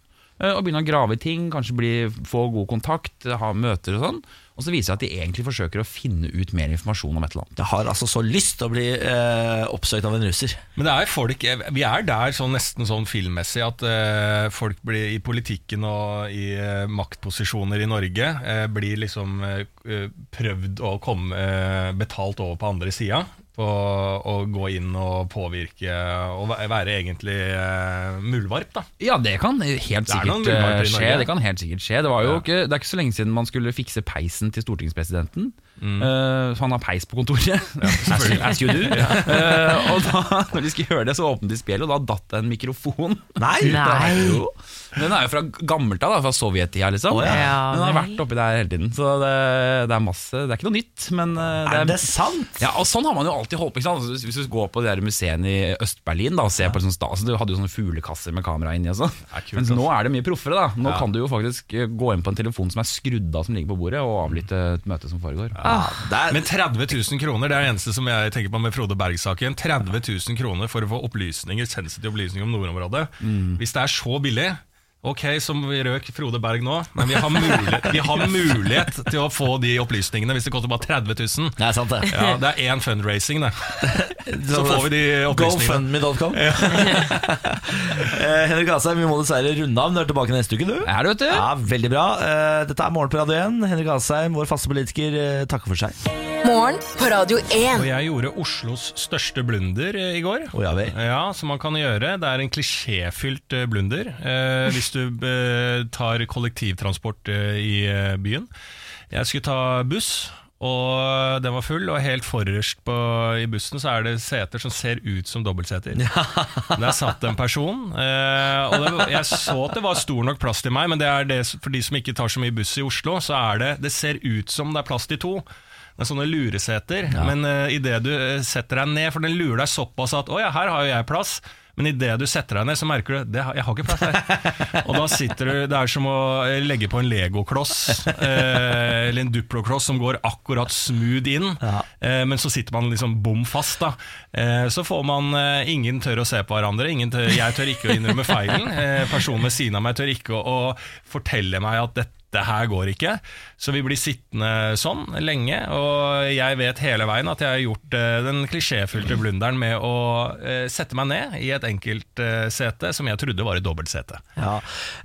Speaker 5: øh, og begynne å grave i ting, kanskje bli, få god kontakt, ha møter og sånn, og så viser det at de egentlig forsøker å finne ut mer informasjon om et eller annet.
Speaker 1: Jeg har altså så lyst til å bli eh, oppsøkt av en russer.
Speaker 2: Men det er folk, vi er der sånn, nesten sånn filmmessig at eh, folk blir i politikken og i eh, maktposisjoner i Norge eh, blir liksom eh, prøvd å komme eh, betalt over på andre sida. På å gå inn og påvirke og væ- være egentlig eh, muldvarp, da.
Speaker 5: Ja, det kan helt
Speaker 2: Det er noen
Speaker 5: sikkert eh,
Speaker 2: muligheter i
Speaker 5: skje.
Speaker 2: Norge.
Speaker 5: Det kan helt sikkert skje Det, var jo
Speaker 2: Ja.
Speaker 5: ikke, det er ikke så lenge siden man skulle fikse peisen til stortingspresidenten.
Speaker 2: Mm.
Speaker 5: Eh, så han har peis på kontoret. as, you, as you do. Eh, og da når de skulle gjøre det, så åpnet de spjeldet, og da datt det en mikrofon.
Speaker 1: Nei!
Speaker 5: ut av-
Speaker 3: Nei.
Speaker 5: Jo. Den er jo fra gammelt av, da, fra sovjettida, liksom.
Speaker 1: Å, ja.
Speaker 3: Ja,
Speaker 5: Den har
Speaker 3: vel.
Speaker 5: vært oppi der hele tiden. Så det, det er masse Det er ikke noe nytt, men eh, det
Speaker 1: Er det sant?
Speaker 5: ja, og Sånn har man jo alltid holdt på. ikke sant? Altså, Hvis hvis du går på de der museene i Øst-Berlin da, og ser på sånn stas, Du hadde jo sånne fuglekasser med kamera inni. og sånn.
Speaker 2: Ja, kult,
Speaker 5: Men
Speaker 2: altså.
Speaker 5: nå er det mye proffere. da. Nå kan du jo faktisk eh, gå inn på en telefon som er skrudd av, som ligger på bordet, og avlytte et møte som foregår.
Speaker 1: Det er,
Speaker 2: Men 30 000 kroner, det er det eneste som jeg tenker på med Frode Berg-saken. 30 000 kroner for å få opplysninger, sensitive opplysninger om nordområdet. Hvis det er så billig Ok, som vi røk Frode Berg nå, men vi har, mulighet, vi har mulighet til å få de opplysningene hvis det koster bare 30 000.
Speaker 1: det er sant, det.
Speaker 2: Ja, det er én fundraising, det. Så får vi de opplysningene.
Speaker 1: GoFundMe.com. Eh, Henrik Asheim, vi må dessverre runde av. men Du er tilbake neste uke, du.
Speaker 5: Er det, vet du?
Speaker 1: Ja, Veldig bra. Eh, Dette er Morgen på Radio 1. Henrik Asheim, vår faste politiker, eh, takker for seg.
Speaker 4: Morgen på Radio 1.
Speaker 2: Og jeg gjorde Oslos største blunder eh, i går.
Speaker 1: Å, ja vel.
Speaker 2: Ja, som man kan gjøre. Det er en klisjéfylt eh, blunder eh, hvis du eh, tar kollektivtransport eh, i eh, byen. Jeg skulle ta buss, og den var full, og helt forrest på, i bussen så er det seter som ser ut som dobbeltseter. Der satt en person, eh, og det, var- jeg så at det var stor nok plass til meg, men det er det, s- for de som ikke tar så mye buss i Oslo, så er det, det ser ut som det er plass til to. Det er sånne lureseter, men uh, idet du eh, setter deg ned, for den lurer deg såpass at 'å ja, her har jo jeg plass'. Men idet du setter deg ned, så merker du det, har- 'jeg har ikke plass her'. Og da sitter du, Det er som å eh, legge på en legokloss, eh, eller en duplokloss som går akkurat smooth inn, eh, men så sitter man liksom bom fast. da. Eh, så får man eh, Ingen tør å se på hverandre. Ingen tør, jeg tør ikke å innrømme feilen. Eh, personen ved siden av meg tør ikke å, å fortelle meg at dette det her går ikke. Så vi blir sittende sånn lenge, og jeg vet hele veien at jeg har gjort eh, den klisjéfylte blunderen med å eh, sette meg ned i et enkeltsete som jeg trodde var et dobbeltsete.
Speaker 1: Ja.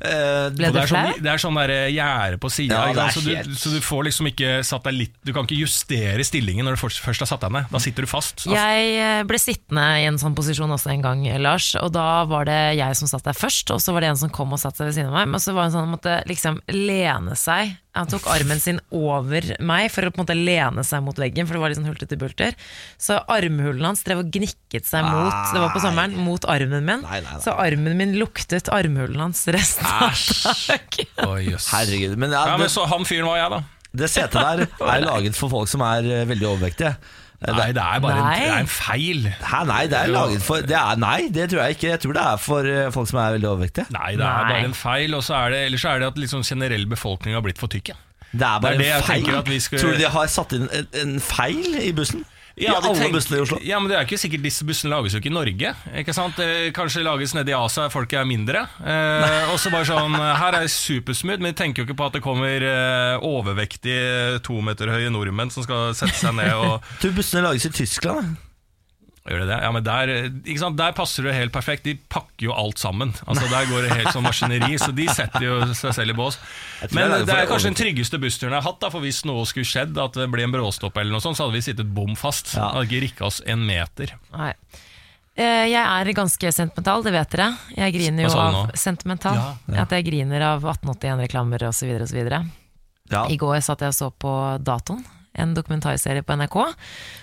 Speaker 1: Eh,
Speaker 3: Ble
Speaker 2: Og
Speaker 3: du
Speaker 2: det er
Speaker 3: flau?
Speaker 2: sånn, det er sånn der, eh, gjerde på sida,
Speaker 1: Ja, det er
Speaker 2: så, du-
Speaker 1: helt-
Speaker 2: så du får liksom ikke satt deg litt Du kan ikke justere stillingen når du først, først har satt deg ned. Da sitter du fast.
Speaker 1: Altså.
Speaker 3: Jeg eh, ble sittende i en sånn posisjon også en gang, eh, Lars. Og da var det jeg som satt der først, og så var det en som kom og satte seg ved siden av meg. Men så var han sånn, han måtte liksom lene seg. Han tok armen sin over meg for å på en måte lene seg mot veggen, for det var litt sånn hultete bulter. Så armhulen hans drev og gnikket seg mot, det var på sommeren, mot armen min.
Speaker 1: Nei, nei, nei.
Speaker 3: Så armen min luktet armhulen hans resten av dagen.
Speaker 2: Å, jøss.
Speaker 1: Herregud. Men, ja,
Speaker 2: Ja, men
Speaker 1: det,
Speaker 2: så han fyren var jeg, da.
Speaker 1: det setet der er laget for folk som er eh, veldig overvektige.
Speaker 2: Nei, det er bare en,
Speaker 3: Nei.
Speaker 2: det er en feil.
Speaker 1: Hæ, nei, det er laget for det er, Nei, det tror jeg ikke. Jeg tror det er for eh, folk som er veldig overvektige.
Speaker 2: Nei, det er
Speaker 3: Nei.
Speaker 2: bare en feil. Og så er det, ellers så er det at liksom generell befolkning har blitt for tykk. ja.
Speaker 1: Det er bare
Speaker 2: Det er det jeg
Speaker 1: en feil.
Speaker 2: tenker at vi skal-
Speaker 1: Tror du de har satt inn en, en feil i bussen? I alle
Speaker 2: tenk-
Speaker 1: bussene i Oslo?
Speaker 2: Ja, men det er ikke sikkert Disse bussene lages jo ikke i Norge. Ikke sant? Eh, Kanskje lages nede i Asia, folk er mindre. Eh, og så bare sånn eh, Her er supersmooth, men de tenker jo ikke på at det kommer eh, overvektige to meter høye nordmenn som skal sette seg ned og
Speaker 1: Tror du bussene lages i Tyskland? da?
Speaker 2: Gjør det det? Ja, men der, eh, ikke sant? der passer det helt perfekt. De pakker jo alt sammen. Altså, der går det helt som maskineri, så de setter jo seg selv i bås.
Speaker 1: tror
Speaker 2: Men
Speaker 1: jeg det er
Speaker 2: det er
Speaker 1: for-
Speaker 2: kanskje den tryggeste bussturen jeg har hatt. Da, for Hvis noe skulle skjedd, at det ble en bråstopp, eller noe sånt, så hadde vi sittet bom fast.
Speaker 1: Ja.
Speaker 2: Hadde ikke rikka oss en meter.
Speaker 3: Nei. Eh, Jeg er ganske sentimental, det vet dere. Jeg griner
Speaker 2: Hva
Speaker 3: jo
Speaker 2: sa du
Speaker 3: av
Speaker 2: nå?
Speaker 3: sentimental.
Speaker 2: Ja,
Speaker 3: At jeg griner av 1881-reklamer osv. videre
Speaker 1: Ja.
Speaker 3: I går satt jeg og så på Datoen, en dokumentarserie på NRK,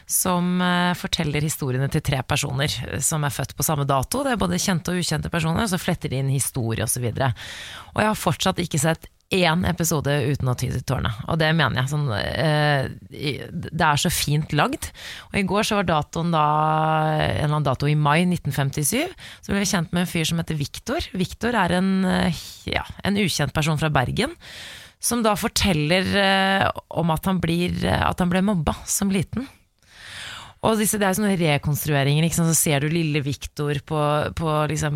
Speaker 3: som eh, forteller historiene til tre personer eh, som er født på samme dato. Det er både kjente og ukjente personer, og så fletter de inn historie osv. Og, så og jeg har fortsatt ikke sett én episode uten å ty til tårene. Og det mener jeg. Sånn, eh, i- det er så fint lagd. Og i går så var datoen da en eller annen dato i mai 1957. Så ble vi kjent med en fyr som heter Viktor. Viktor er en, eh, ja, en ukjent person fra Bergen som da forteller eh, om at han, blir, eh, at han ble mobba som liten. Og disse, det er jo sånne rekonstrueringer. Ikke sant? Så ser du lille Viktor på, på, liksom,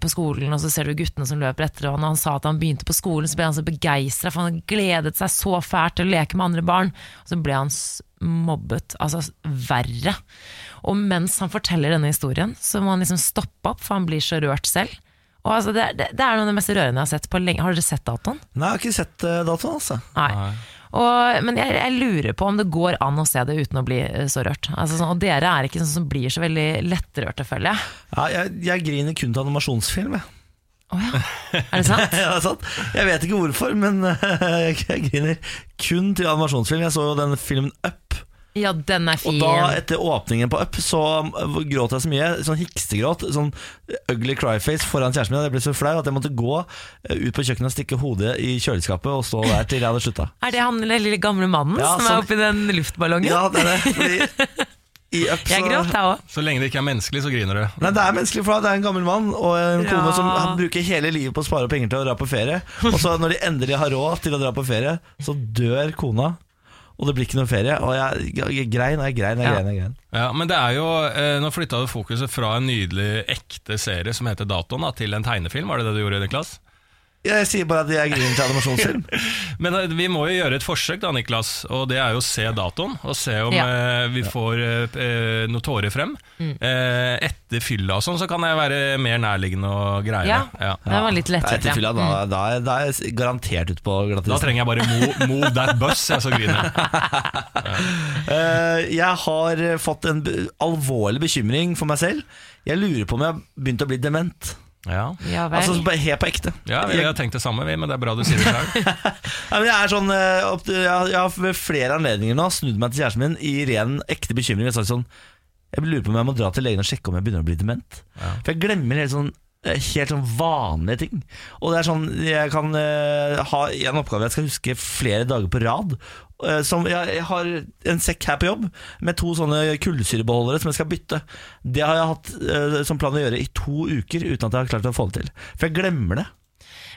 Speaker 3: på skolen, og så ser du guttene som løper etter ham. Og han sa at han begynte på skolen, så ble han så begeistra, for han gledet seg så fælt til å leke med andre barn. Og så ble han s- mobbet, altså s- verre. Og mens han forteller denne historien, så må han liksom stoppe opp, for han blir så rørt selv. Og altså, det, det, det er noe av det mest rørende jeg har sett på lenge. Har dere sett datoen?
Speaker 1: Nei, jeg har ikke sett eh, datoen, altså.
Speaker 3: Nei. Og, men jeg, jeg lurer på om det går an å se det uten å bli eh, så rørt. Altså, sånn, og dere er ikke sånn som blir så veldig lettrørte, føler jeg.
Speaker 1: Ja, jeg, jeg griner kun til animasjonsfilm, jeg.
Speaker 3: Å ja. Er det sant?
Speaker 1: Ja, det er sant. Jeg vet ikke hvorfor, men jeg griner kun til animasjonsfilm. Jeg så jo den filmen Up,
Speaker 3: Ja, den er
Speaker 1: og
Speaker 3: fin.
Speaker 1: da etter åpningen på Up så um, gråt jeg så mye. Sånn hikstegråt. Sånn ugly cryface foran kjæresten min. Jeg ble så flau at jeg måtte gå eh, ut på kjøkkenet og stikke hodet i kjøleskapet og stå der til jeg hadde slutta.
Speaker 3: Er det han den lille gamle mannen
Speaker 1: Ja,
Speaker 3: som
Speaker 1: sånn-
Speaker 3: er oppi den luftballongen?
Speaker 1: Ja, det er det. Fordi i Up
Speaker 3: jeg gråt,
Speaker 1: så
Speaker 3: jeg òg.
Speaker 2: Så lenge det ikke er menneskelig, så griner du.
Speaker 1: Nei, Det er menneskelig, for det er en gammel mann og en
Speaker 3: Ja.
Speaker 1: kone som han bruker hele livet på å spare penger til å dra på ferie. Og så når de endelig har råd til å dra på ferie, så dør kona. Og det blir ikke noe ferie. Og jeg, jeg grein og jeg grein og jeg
Speaker 3: Ja.
Speaker 1: grein. Jeg grein.
Speaker 2: Ja, men det er jo, eh, Nå flytta du fokuset fra en nydelig, ekte serie som heter Datoen, da, til en tegnefilm. Var det det du gjorde, Niklas?
Speaker 1: Jeg sier bare at jeg griner til animasjonsfilm.
Speaker 2: Men eh, vi må jo gjøre et forsøk, da, Niklas. Og det er jo å se datoen. Og se om
Speaker 3: Ja. Mm.
Speaker 2: eh, vi får eh, eh, noen tårer frem. Eh, etter fylla og sånn, så kan jeg være mer nærliggende og greie
Speaker 3: Ja.
Speaker 2: det. Ja.
Speaker 3: Den var litt
Speaker 1: Nei,
Speaker 3: lettrørt.
Speaker 1: til
Speaker 3: Ja.
Speaker 1: fylla, da, da, er- da er jeg garantert ute på
Speaker 2: Mm. Da
Speaker 1: glattisen.
Speaker 2: trenger jeg bare mo- move that bus, jeg så griner.
Speaker 1: Eh, jeg har fått en be- alvorlig bekymring for meg selv. Jeg lurer på om jeg har begynt å bli dement.
Speaker 2: Ja.
Speaker 3: Ja vel.
Speaker 1: Altså bare Helt på ekte.
Speaker 2: ja, vi har tenkt det samme, vi, men det er bra du sier det sjøl.
Speaker 1: Nei, men jeg, er sånn, eh, opp- jeg, har- jeg har ved flere anledninger nå snudd meg til kjæresten min i ren ekte bekymring. Jeg har sagt sånn Jeg lurer på om jeg må dra til legen og sjekke om jeg begynner å bli dement. For jeg glemmer helt sånn eh, Helt sånn vanlige ting. Og det er sånn Jeg kan eh, ha en oppgave jeg skal huske flere dager på rad. eh, Som jeg, jeg har en sekk her på jobb med to sånne kullsyrebeholdere som jeg skal bytte. Det har jeg hatt eh, som plan å gjøre i to uker uten at jeg har klart å få det til. For jeg glemmer det.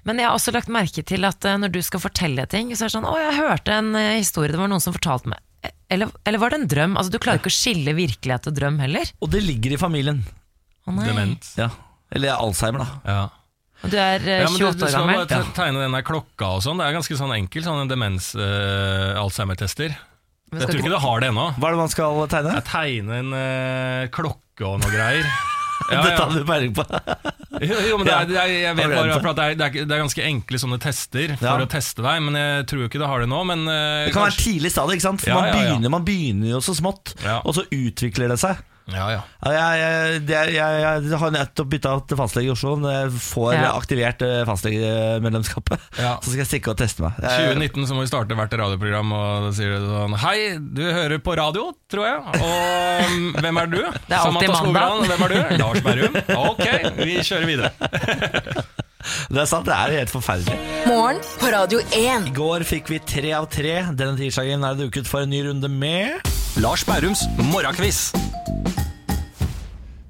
Speaker 3: Men jeg har også lagt merke til at eh, når du skal fortelle ting, så er det sånn 'Å, jeg hørte en eh, historie, det var noen som fortalte meg'. Eh, Eller, eller var det en drøm? Altså, du klarer ikke å skille virkelighet og drøm heller.
Speaker 1: Og det ligger i familien.
Speaker 3: Å nei.
Speaker 2: Dement.
Speaker 1: Ja. Eller Alzheimer, da.
Speaker 2: Ja.
Speaker 3: Og du er eh,
Speaker 2: Ja,
Speaker 3: 28
Speaker 2: men du,
Speaker 3: år
Speaker 2: du skal
Speaker 3: gammel.
Speaker 2: bare te- tegne den der klokka og sånn. Det er ganske sånn enkel sånn demens-alzheimer-tester.
Speaker 3: Men
Speaker 2: jeg
Speaker 3: skal
Speaker 2: tror ikke du har det ennå.
Speaker 1: Hva er det man skal tegne?
Speaker 2: Jeg tegner en eh, klokke og noe greier. Ja,
Speaker 1: Dette
Speaker 2: ja.
Speaker 1: hadde du peiling på.
Speaker 2: Jo, jo, men det er, det er, jeg vet
Speaker 1: Allerede.
Speaker 2: bare for at det er, det, er, ikke- det er ganske enkle sånne tester for
Speaker 1: Ja.
Speaker 2: å teste deg, men jeg tror jo ikke det har det nå. Men eh,
Speaker 1: Det kan være
Speaker 2: kanskje-
Speaker 1: tidlig stadie, ikke sant? For
Speaker 2: Ja,
Speaker 1: man,
Speaker 2: ja, ja.
Speaker 1: Begynner, man begynner jo så smått,
Speaker 2: Ja.
Speaker 1: og så utvikler det seg.
Speaker 2: ja, ja.
Speaker 1: Ja, Jeg, jeg, det er- jeg, jeg har nettopp bytta til fastlege i Oslo. Når jeg får
Speaker 3: Ja.
Speaker 1: aktivert eh, fastlegemedlemskapet,
Speaker 2: Ja.
Speaker 1: så skal jeg stikke og teste
Speaker 3: Eh,
Speaker 1: meg. Jeg-
Speaker 2: 2019 så må vi starte hvert radioprogram, og da sier du sånn Hei, du hører på radio, tror jeg. Og mm, hvem er du?
Speaker 3: er alltid
Speaker 2: Samantha
Speaker 3: mandag.
Speaker 2: Skogran, Hvem er du? Lars Berrum. Ok, vi kjører videre.
Speaker 1: Det er sant, det er helt forferdelig.
Speaker 4: Morgen på Radio
Speaker 1: I
Speaker 4: 1.
Speaker 1: går fikk vi tre av tre. Denne tirsdagen er det duket for en ny runde med
Speaker 6: Lars Bærums morgenkviss.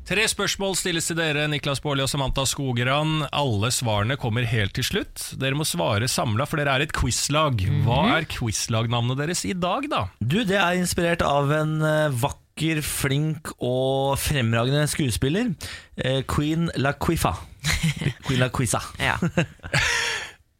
Speaker 2: Tre spørsmål stilles til dere, Niklas Baarli og Samantha Skogran. Alle svarene kommer helt til slutt. Dere må svare samla, for dere er et quizlag. Hva er quizlagnavnet deres i dag, da?
Speaker 1: Du, det er inspirert av en eh, vakker, flink og fremragende skuespiller. Eh, Queen La Quifa. Queen La Quisa.
Speaker 3: Ja,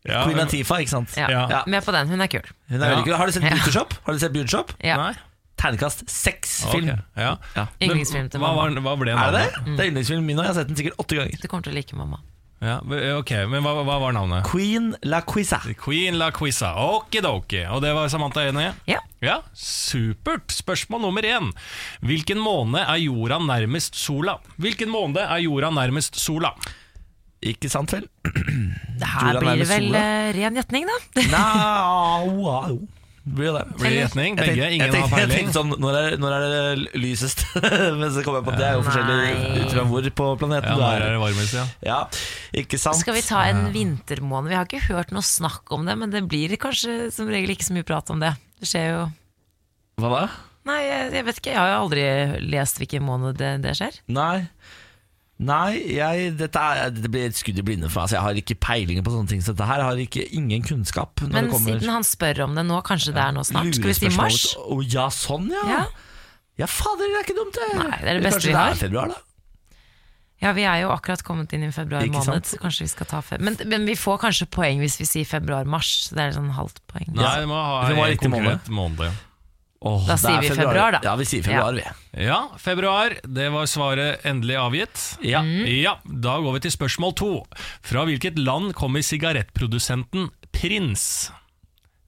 Speaker 2: Ja,
Speaker 1: Queen Latifa, ikke sant?
Speaker 3: ja.
Speaker 2: Ja.
Speaker 3: Med på den, hun er kul.
Speaker 1: Hun er veldig kul. Har du sett
Speaker 3: Ja.
Speaker 1: Beauty Shop? Har du sett Beauty Shop?
Speaker 3: Ja.
Speaker 2: Nei?
Speaker 1: Ternekast seks
Speaker 2: Ok,
Speaker 1: film.
Speaker 2: Ja.
Speaker 1: Ja.
Speaker 2: Men
Speaker 3: Yndlingsfilm til
Speaker 2: hva,
Speaker 3: mamma.
Speaker 2: var, hva ble
Speaker 1: Er det
Speaker 2: navnet?
Speaker 1: det? Det er yndlingsfilmen min, og jeg har sett den sikkert åtte ganger.
Speaker 3: Du kommer til å like mamma.
Speaker 2: Ja, ok, men hva, hva var navnet?
Speaker 1: Queen La Quisa.
Speaker 2: Queen La Quiza. Okidoki. Og det var Samantha enig i?
Speaker 3: Ja.
Speaker 2: Ja, supert. Spørsmål nummer én. Hvilken måned er jorda nærmest sola? Hvilken måned er jorda nærmest sola?
Speaker 1: Ikke sant, vel?
Speaker 3: Det
Speaker 1: Tror
Speaker 3: her
Speaker 1: han er
Speaker 3: blir
Speaker 1: med
Speaker 3: det vel
Speaker 1: sola?
Speaker 3: eh, ren gjetning, da.
Speaker 1: Nja Blir jo det.
Speaker 2: Blir det gjetning?
Speaker 1: Jeg
Speaker 2: Begge?
Speaker 1: tenkte-
Speaker 2: Ingen
Speaker 1: jeg tenkte-
Speaker 2: har
Speaker 1: Jeg
Speaker 2: peiling?
Speaker 1: tenkte sånn, når er, når er det lysest? Men så kom jeg på at det er jo
Speaker 3: Nei.
Speaker 1: forskjellig ut fra hvor på planeten
Speaker 2: Ja,
Speaker 1: du
Speaker 2: når er
Speaker 1: er.
Speaker 2: det varmest, ja.
Speaker 1: Ja, ikke sant?
Speaker 3: Skal vi ta en vintermåned? Vi har ikke hørt noe snakk om det, men det blir kanskje som regel ikke så mye prat om det. Det skjer jo
Speaker 1: Hva da?
Speaker 3: Nei, jeg, jeg vet ikke. Jeg har jo aldri lest hvilken måned det, det skjer.
Speaker 1: Nei. Nei, jeg, dette er, det blir et skudd i blinde for meg. Altså, jeg har ikke peiling på sånne ting. Så dette her har ikke, ingen kunnskap. Når
Speaker 3: Men
Speaker 1: det kommer
Speaker 3: siden han spør om det nå, kanskje det er nå snart? Skal vi si
Speaker 1: lurespørsmål.
Speaker 3: mars?
Speaker 1: Å, ja, sånn, ja. ja.
Speaker 3: Ja.
Speaker 1: fader, det er ikke dumt, det.
Speaker 3: Nei, det er det beste
Speaker 1: Kanskje
Speaker 3: vi har.
Speaker 1: er februar, da.
Speaker 3: Ja, vi er jo akkurat kommet inn i februar
Speaker 1: Ikke sant?
Speaker 3: måned, så kanskje vi skal ta fe men, men vi får kanskje poeng hvis vi sier februar-mars, så det er sånn halvt poeng.
Speaker 2: Nei, det må ha
Speaker 1: Det må ha
Speaker 2: en
Speaker 1: riktig måned.
Speaker 2: konkret måned.
Speaker 1: Åh,
Speaker 3: Da
Speaker 1: det
Speaker 3: sier
Speaker 1: er
Speaker 3: vi februar, da.
Speaker 1: Ja, vi sier februar, vi.
Speaker 2: Ja, februar. Det var svaret endelig avgitt. Mm.
Speaker 1: Ja.
Speaker 2: Ja, Da går vi til spørsmål to. Fra hvilket land kommer sigarettprodusenten Prins?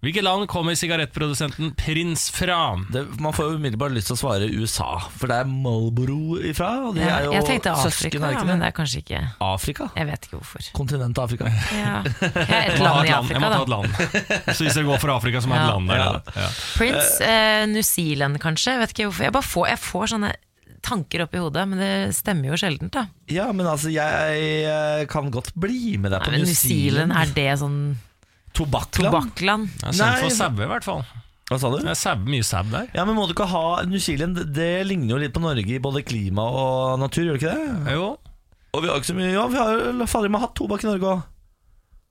Speaker 2: Hvilket land kommer sigarettprodusenten Prins fra?
Speaker 1: Det, man får jo umiddelbart lyst til å svare USA, for det er Marlboro ifra. Og de
Speaker 3: Ja,
Speaker 1: er jo
Speaker 3: jeg tenkte Afrika,
Speaker 1: søsken, er
Speaker 3: ja,
Speaker 1: ikke
Speaker 3: men
Speaker 1: det?
Speaker 3: det er kanskje ikke
Speaker 1: Afrika?
Speaker 3: Jeg vet ikke hvorfor.
Speaker 1: Kontinentet Afrika.
Speaker 3: Ja. Jeg er et
Speaker 2: Jeg må
Speaker 3: land i
Speaker 2: ha et land. Jeg
Speaker 3: Afrika,
Speaker 2: må ta et
Speaker 3: da.
Speaker 2: land. Så hvis jeg går for Afrika, så må jeg ha et
Speaker 3: Ja.
Speaker 2: land der. nede. Ja.
Speaker 3: Prince, eh, New Zealand kanskje. Jeg vet ikke hvorfor. Jeg bare får, jeg får sånne tanker opp i hodet, men det stemmer jo sjeldent, da.
Speaker 1: Ja, men altså, jeg eh, kan godt bli med deg
Speaker 3: Nei,
Speaker 1: på
Speaker 3: men New Zealand, er det sånn
Speaker 1: Tobakkland?
Speaker 3: tobakkland?
Speaker 2: Jeg er sendt
Speaker 1: Nei,
Speaker 2: for
Speaker 1: men-
Speaker 2: sauer, i hvert fall.
Speaker 1: Hva sa du?
Speaker 2: Det er sau- mye sau der.
Speaker 1: Ja, men må du ikke ha New Zealand, det ligner jo litt på Norge i både klima og natur, gjør det ikke det?
Speaker 2: Jo.
Speaker 1: Og vi har ikke så mye Ja, vi har jo fader meg hatt tobakk i Norge òg.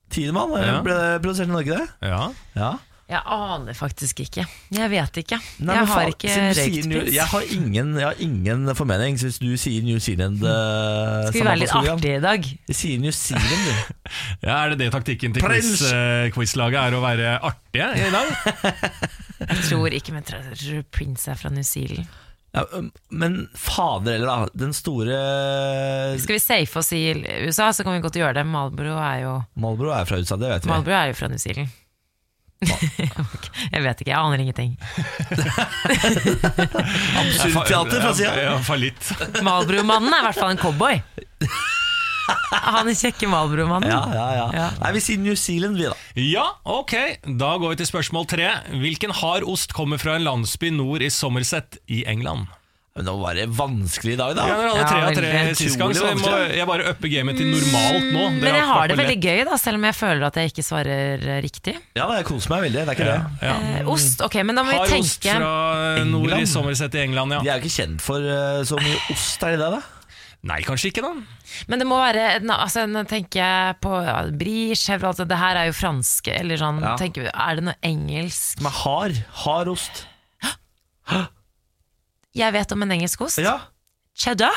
Speaker 1: Tidemann eh,
Speaker 2: Ja.
Speaker 1: ble produsert i Norge, det.
Speaker 2: Ja.
Speaker 1: Ja.
Speaker 3: Jeg aner faktisk ikke. Jeg vet ikke.
Speaker 1: Nei, men
Speaker 3: jeg
Speaker 1: faen,
Speaker 3: har ikke
Speaker 1: siden du sier
Speaker 3: røykt
Speaker 1: New-
Speaker 3: prins.
Speaker 1: Jeg har ingen, jeg har ingen formening, så hvis du sier New Zealand eh,
Speaker 3: Skal vi
Speaker 1: Samantha
Speaker 3: være litt
Speaker 1: Skogran,
Speaker 3: artige i dag?
Speaker 1: Jeg sier New Zealand, du.
Speaker 2: ja, Er det det taktikken til
Speaker 1: Prins!
Speaker 2: quiz, eh, quizlaget er å være artige i dag?
Speaker 3: Jeg tror ikke, men jeg tror Prince er fra New Zealand.
Speaker 1: Ja, um, men fader heller, da. Den store
Speaker 3: Skal vi safe oss i USA, så kan vi godt gjøre det. Malboro er jo,
Speaker 1: Malboro er fra USA, det vet vi.
Speaker 3: Marlboro er jo fra New Zealand. jeg vet ikke, jeg aner ingenting.
Speaker 1: Absurdteater fra sida.
Speaker 2: Ja, fallitt.
Speaker 3: Malboro-mannen er i hvert fall en cowboy. Han er kjekke Malboro-mannen.
Speaker 1: Ja, ja, ja,
Speaker 3: Ja.
Speaker 1: Nei, vi sier New Zealand, vi, da.
Speaker 2: Ja, ok. Da går vi til spørsmål tre. Hvilken hard ost kommer fra en landsby nord i Somerset i England?
Speaker 1: Men det var det vanskelig i dag, da.
Speaker 2: Ja, Dere hadde
Speaker 3: Ja,
Speaker 2: tre av tre
Speaker 3: veldig.
Speaker 2: sist gang, så jeg, må, jeg bare upper gamet til normalt nå.
Speaker 3: Men jeg
Speaker 2: Dere ikke vært
Speaker 3: har det
Speaker 2: på
Speaker 3: veldig
Speaker 2: lett.
Speaker 3: gøy, da, selv om jeg føler at jeg ikke svarer eh, riktig.
Speaker 1: Ja, da, jeg koser meg veldig. Det er ikke det.
Speaker 2: Ja.
Speaker 3: Eh, ost, ok, men da må
Speaker 2: Hard
Speaker 3: vi
Speaker 2: ost
Speaker 3: tenke
Speaker 2: fra eh, nord i
Speaker 1: England?
Speaker 2: Somerset i England,
Speaker 1: De
Speaker 2: ja.
Speaker 1: er jo ikke kjent for eh, så mye ost, er de det? da?
Speaker 2: Nei, kanskje ikke, da.
Speaker 3: Men det må være na- altså, Nå tenker jeg på ja, brie, chèvre altså, Det her er jo franske Eller sånn,
Speaker 1: Ja.
Speaker 3: tenker vi, er det noe engelsk?
Speaker 1: Med hard, hard ost.
Speaker 3: Jeg vet om en engelsk ost
Speaker 1: Ja.
Speaker 3: Cheddar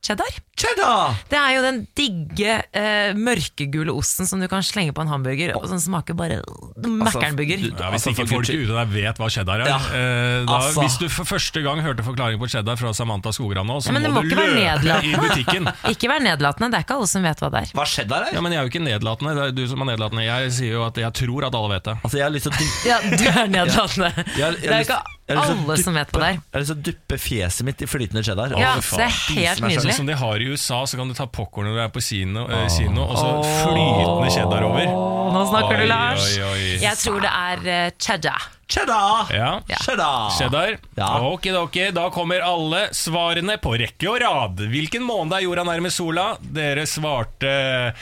Speaker 3: Cheddar
Speaker 1: Cheddar!
Speaker 3: Det er jo den digge eh, Mørkegule osten som du kan slenge på en hamburger Og som smaker bare Mekkernburger
Speaker 1: du-
Speaker 2: Ja, hvis
Speaker 1: Altså,
Speaker 2: ikke
Speaker 1: for
Speaker 2: folk
Speaker 1: Gucci.
Speaker 2: ute der vet hva cheddar er
Speaker 1: Ja,
Speaker 2: eh, da,
Speaker 1: altså.
Speaker 2: Hvis du for første gang hørte forklaring på cheddar fra Samantha Skogran nå, så
Speaker 3: Ja, men det
Speaker 2: må
Speaker 3: må
Speaker 2: du
Speaker 3: ikke være
Speaker 2: løpe i
Speaker 3: nedlatende.
Speaker 2: butikken.
Speaker 3: Ikke vær nedlatende, det er ikke alle som vet hva det er
Speaker 1: Hva cheddar
Speaker 2: Ja,
Speaker 1: er?
Speaker 2: men jeg er jo ikke nedlatende. Det er du som er nedlatende. Jeg sier jo at jeg tror at alle vet det.
Speaker 1: Altså, jeg har lyst til å dyppe
Speaker 3: Ja, du er nedlatende
Speaker 1: jeg har- jeg har
Speaker 3: Det er
Speaker 1: lyst-
Speaker 3: ikke
Speaker 1: jeg har lyst til å
Speaker 3: alle som vet på det her
Speaker 1: Jeg har lyst til å dyppe fjeset mitt i flytende cheddar.
Speaker 3: Ja,
Speaker 1: Å, fy faen.
Speaker 3: det er helt
Speaker 1: meg selv.
Speaker 2: Sånn
Speaker 3: nydelig
Speaker 2: som de har i USA, så kan du ta popkorn når du er på kino, eh, kino og så flytende cheddar over.
Speaker 3: Nå snakker
Speaker 2: Oi,
Speaker 3: du, Lars
Speaker 2: oi, oi.
Speaker 3: Jeg tror det er eh, cheddar
Speaker 1: Cheddar!
Speaker 2: Ja.
Speaker 1: Cheddar!
Speaker 2: Cheddar.
Speaker 1: Ja.
Speaker 2: Okidoki, da kommer alle svarene på rekke og rad. Hvilken måned er jorda nærmest sola? Dere svarte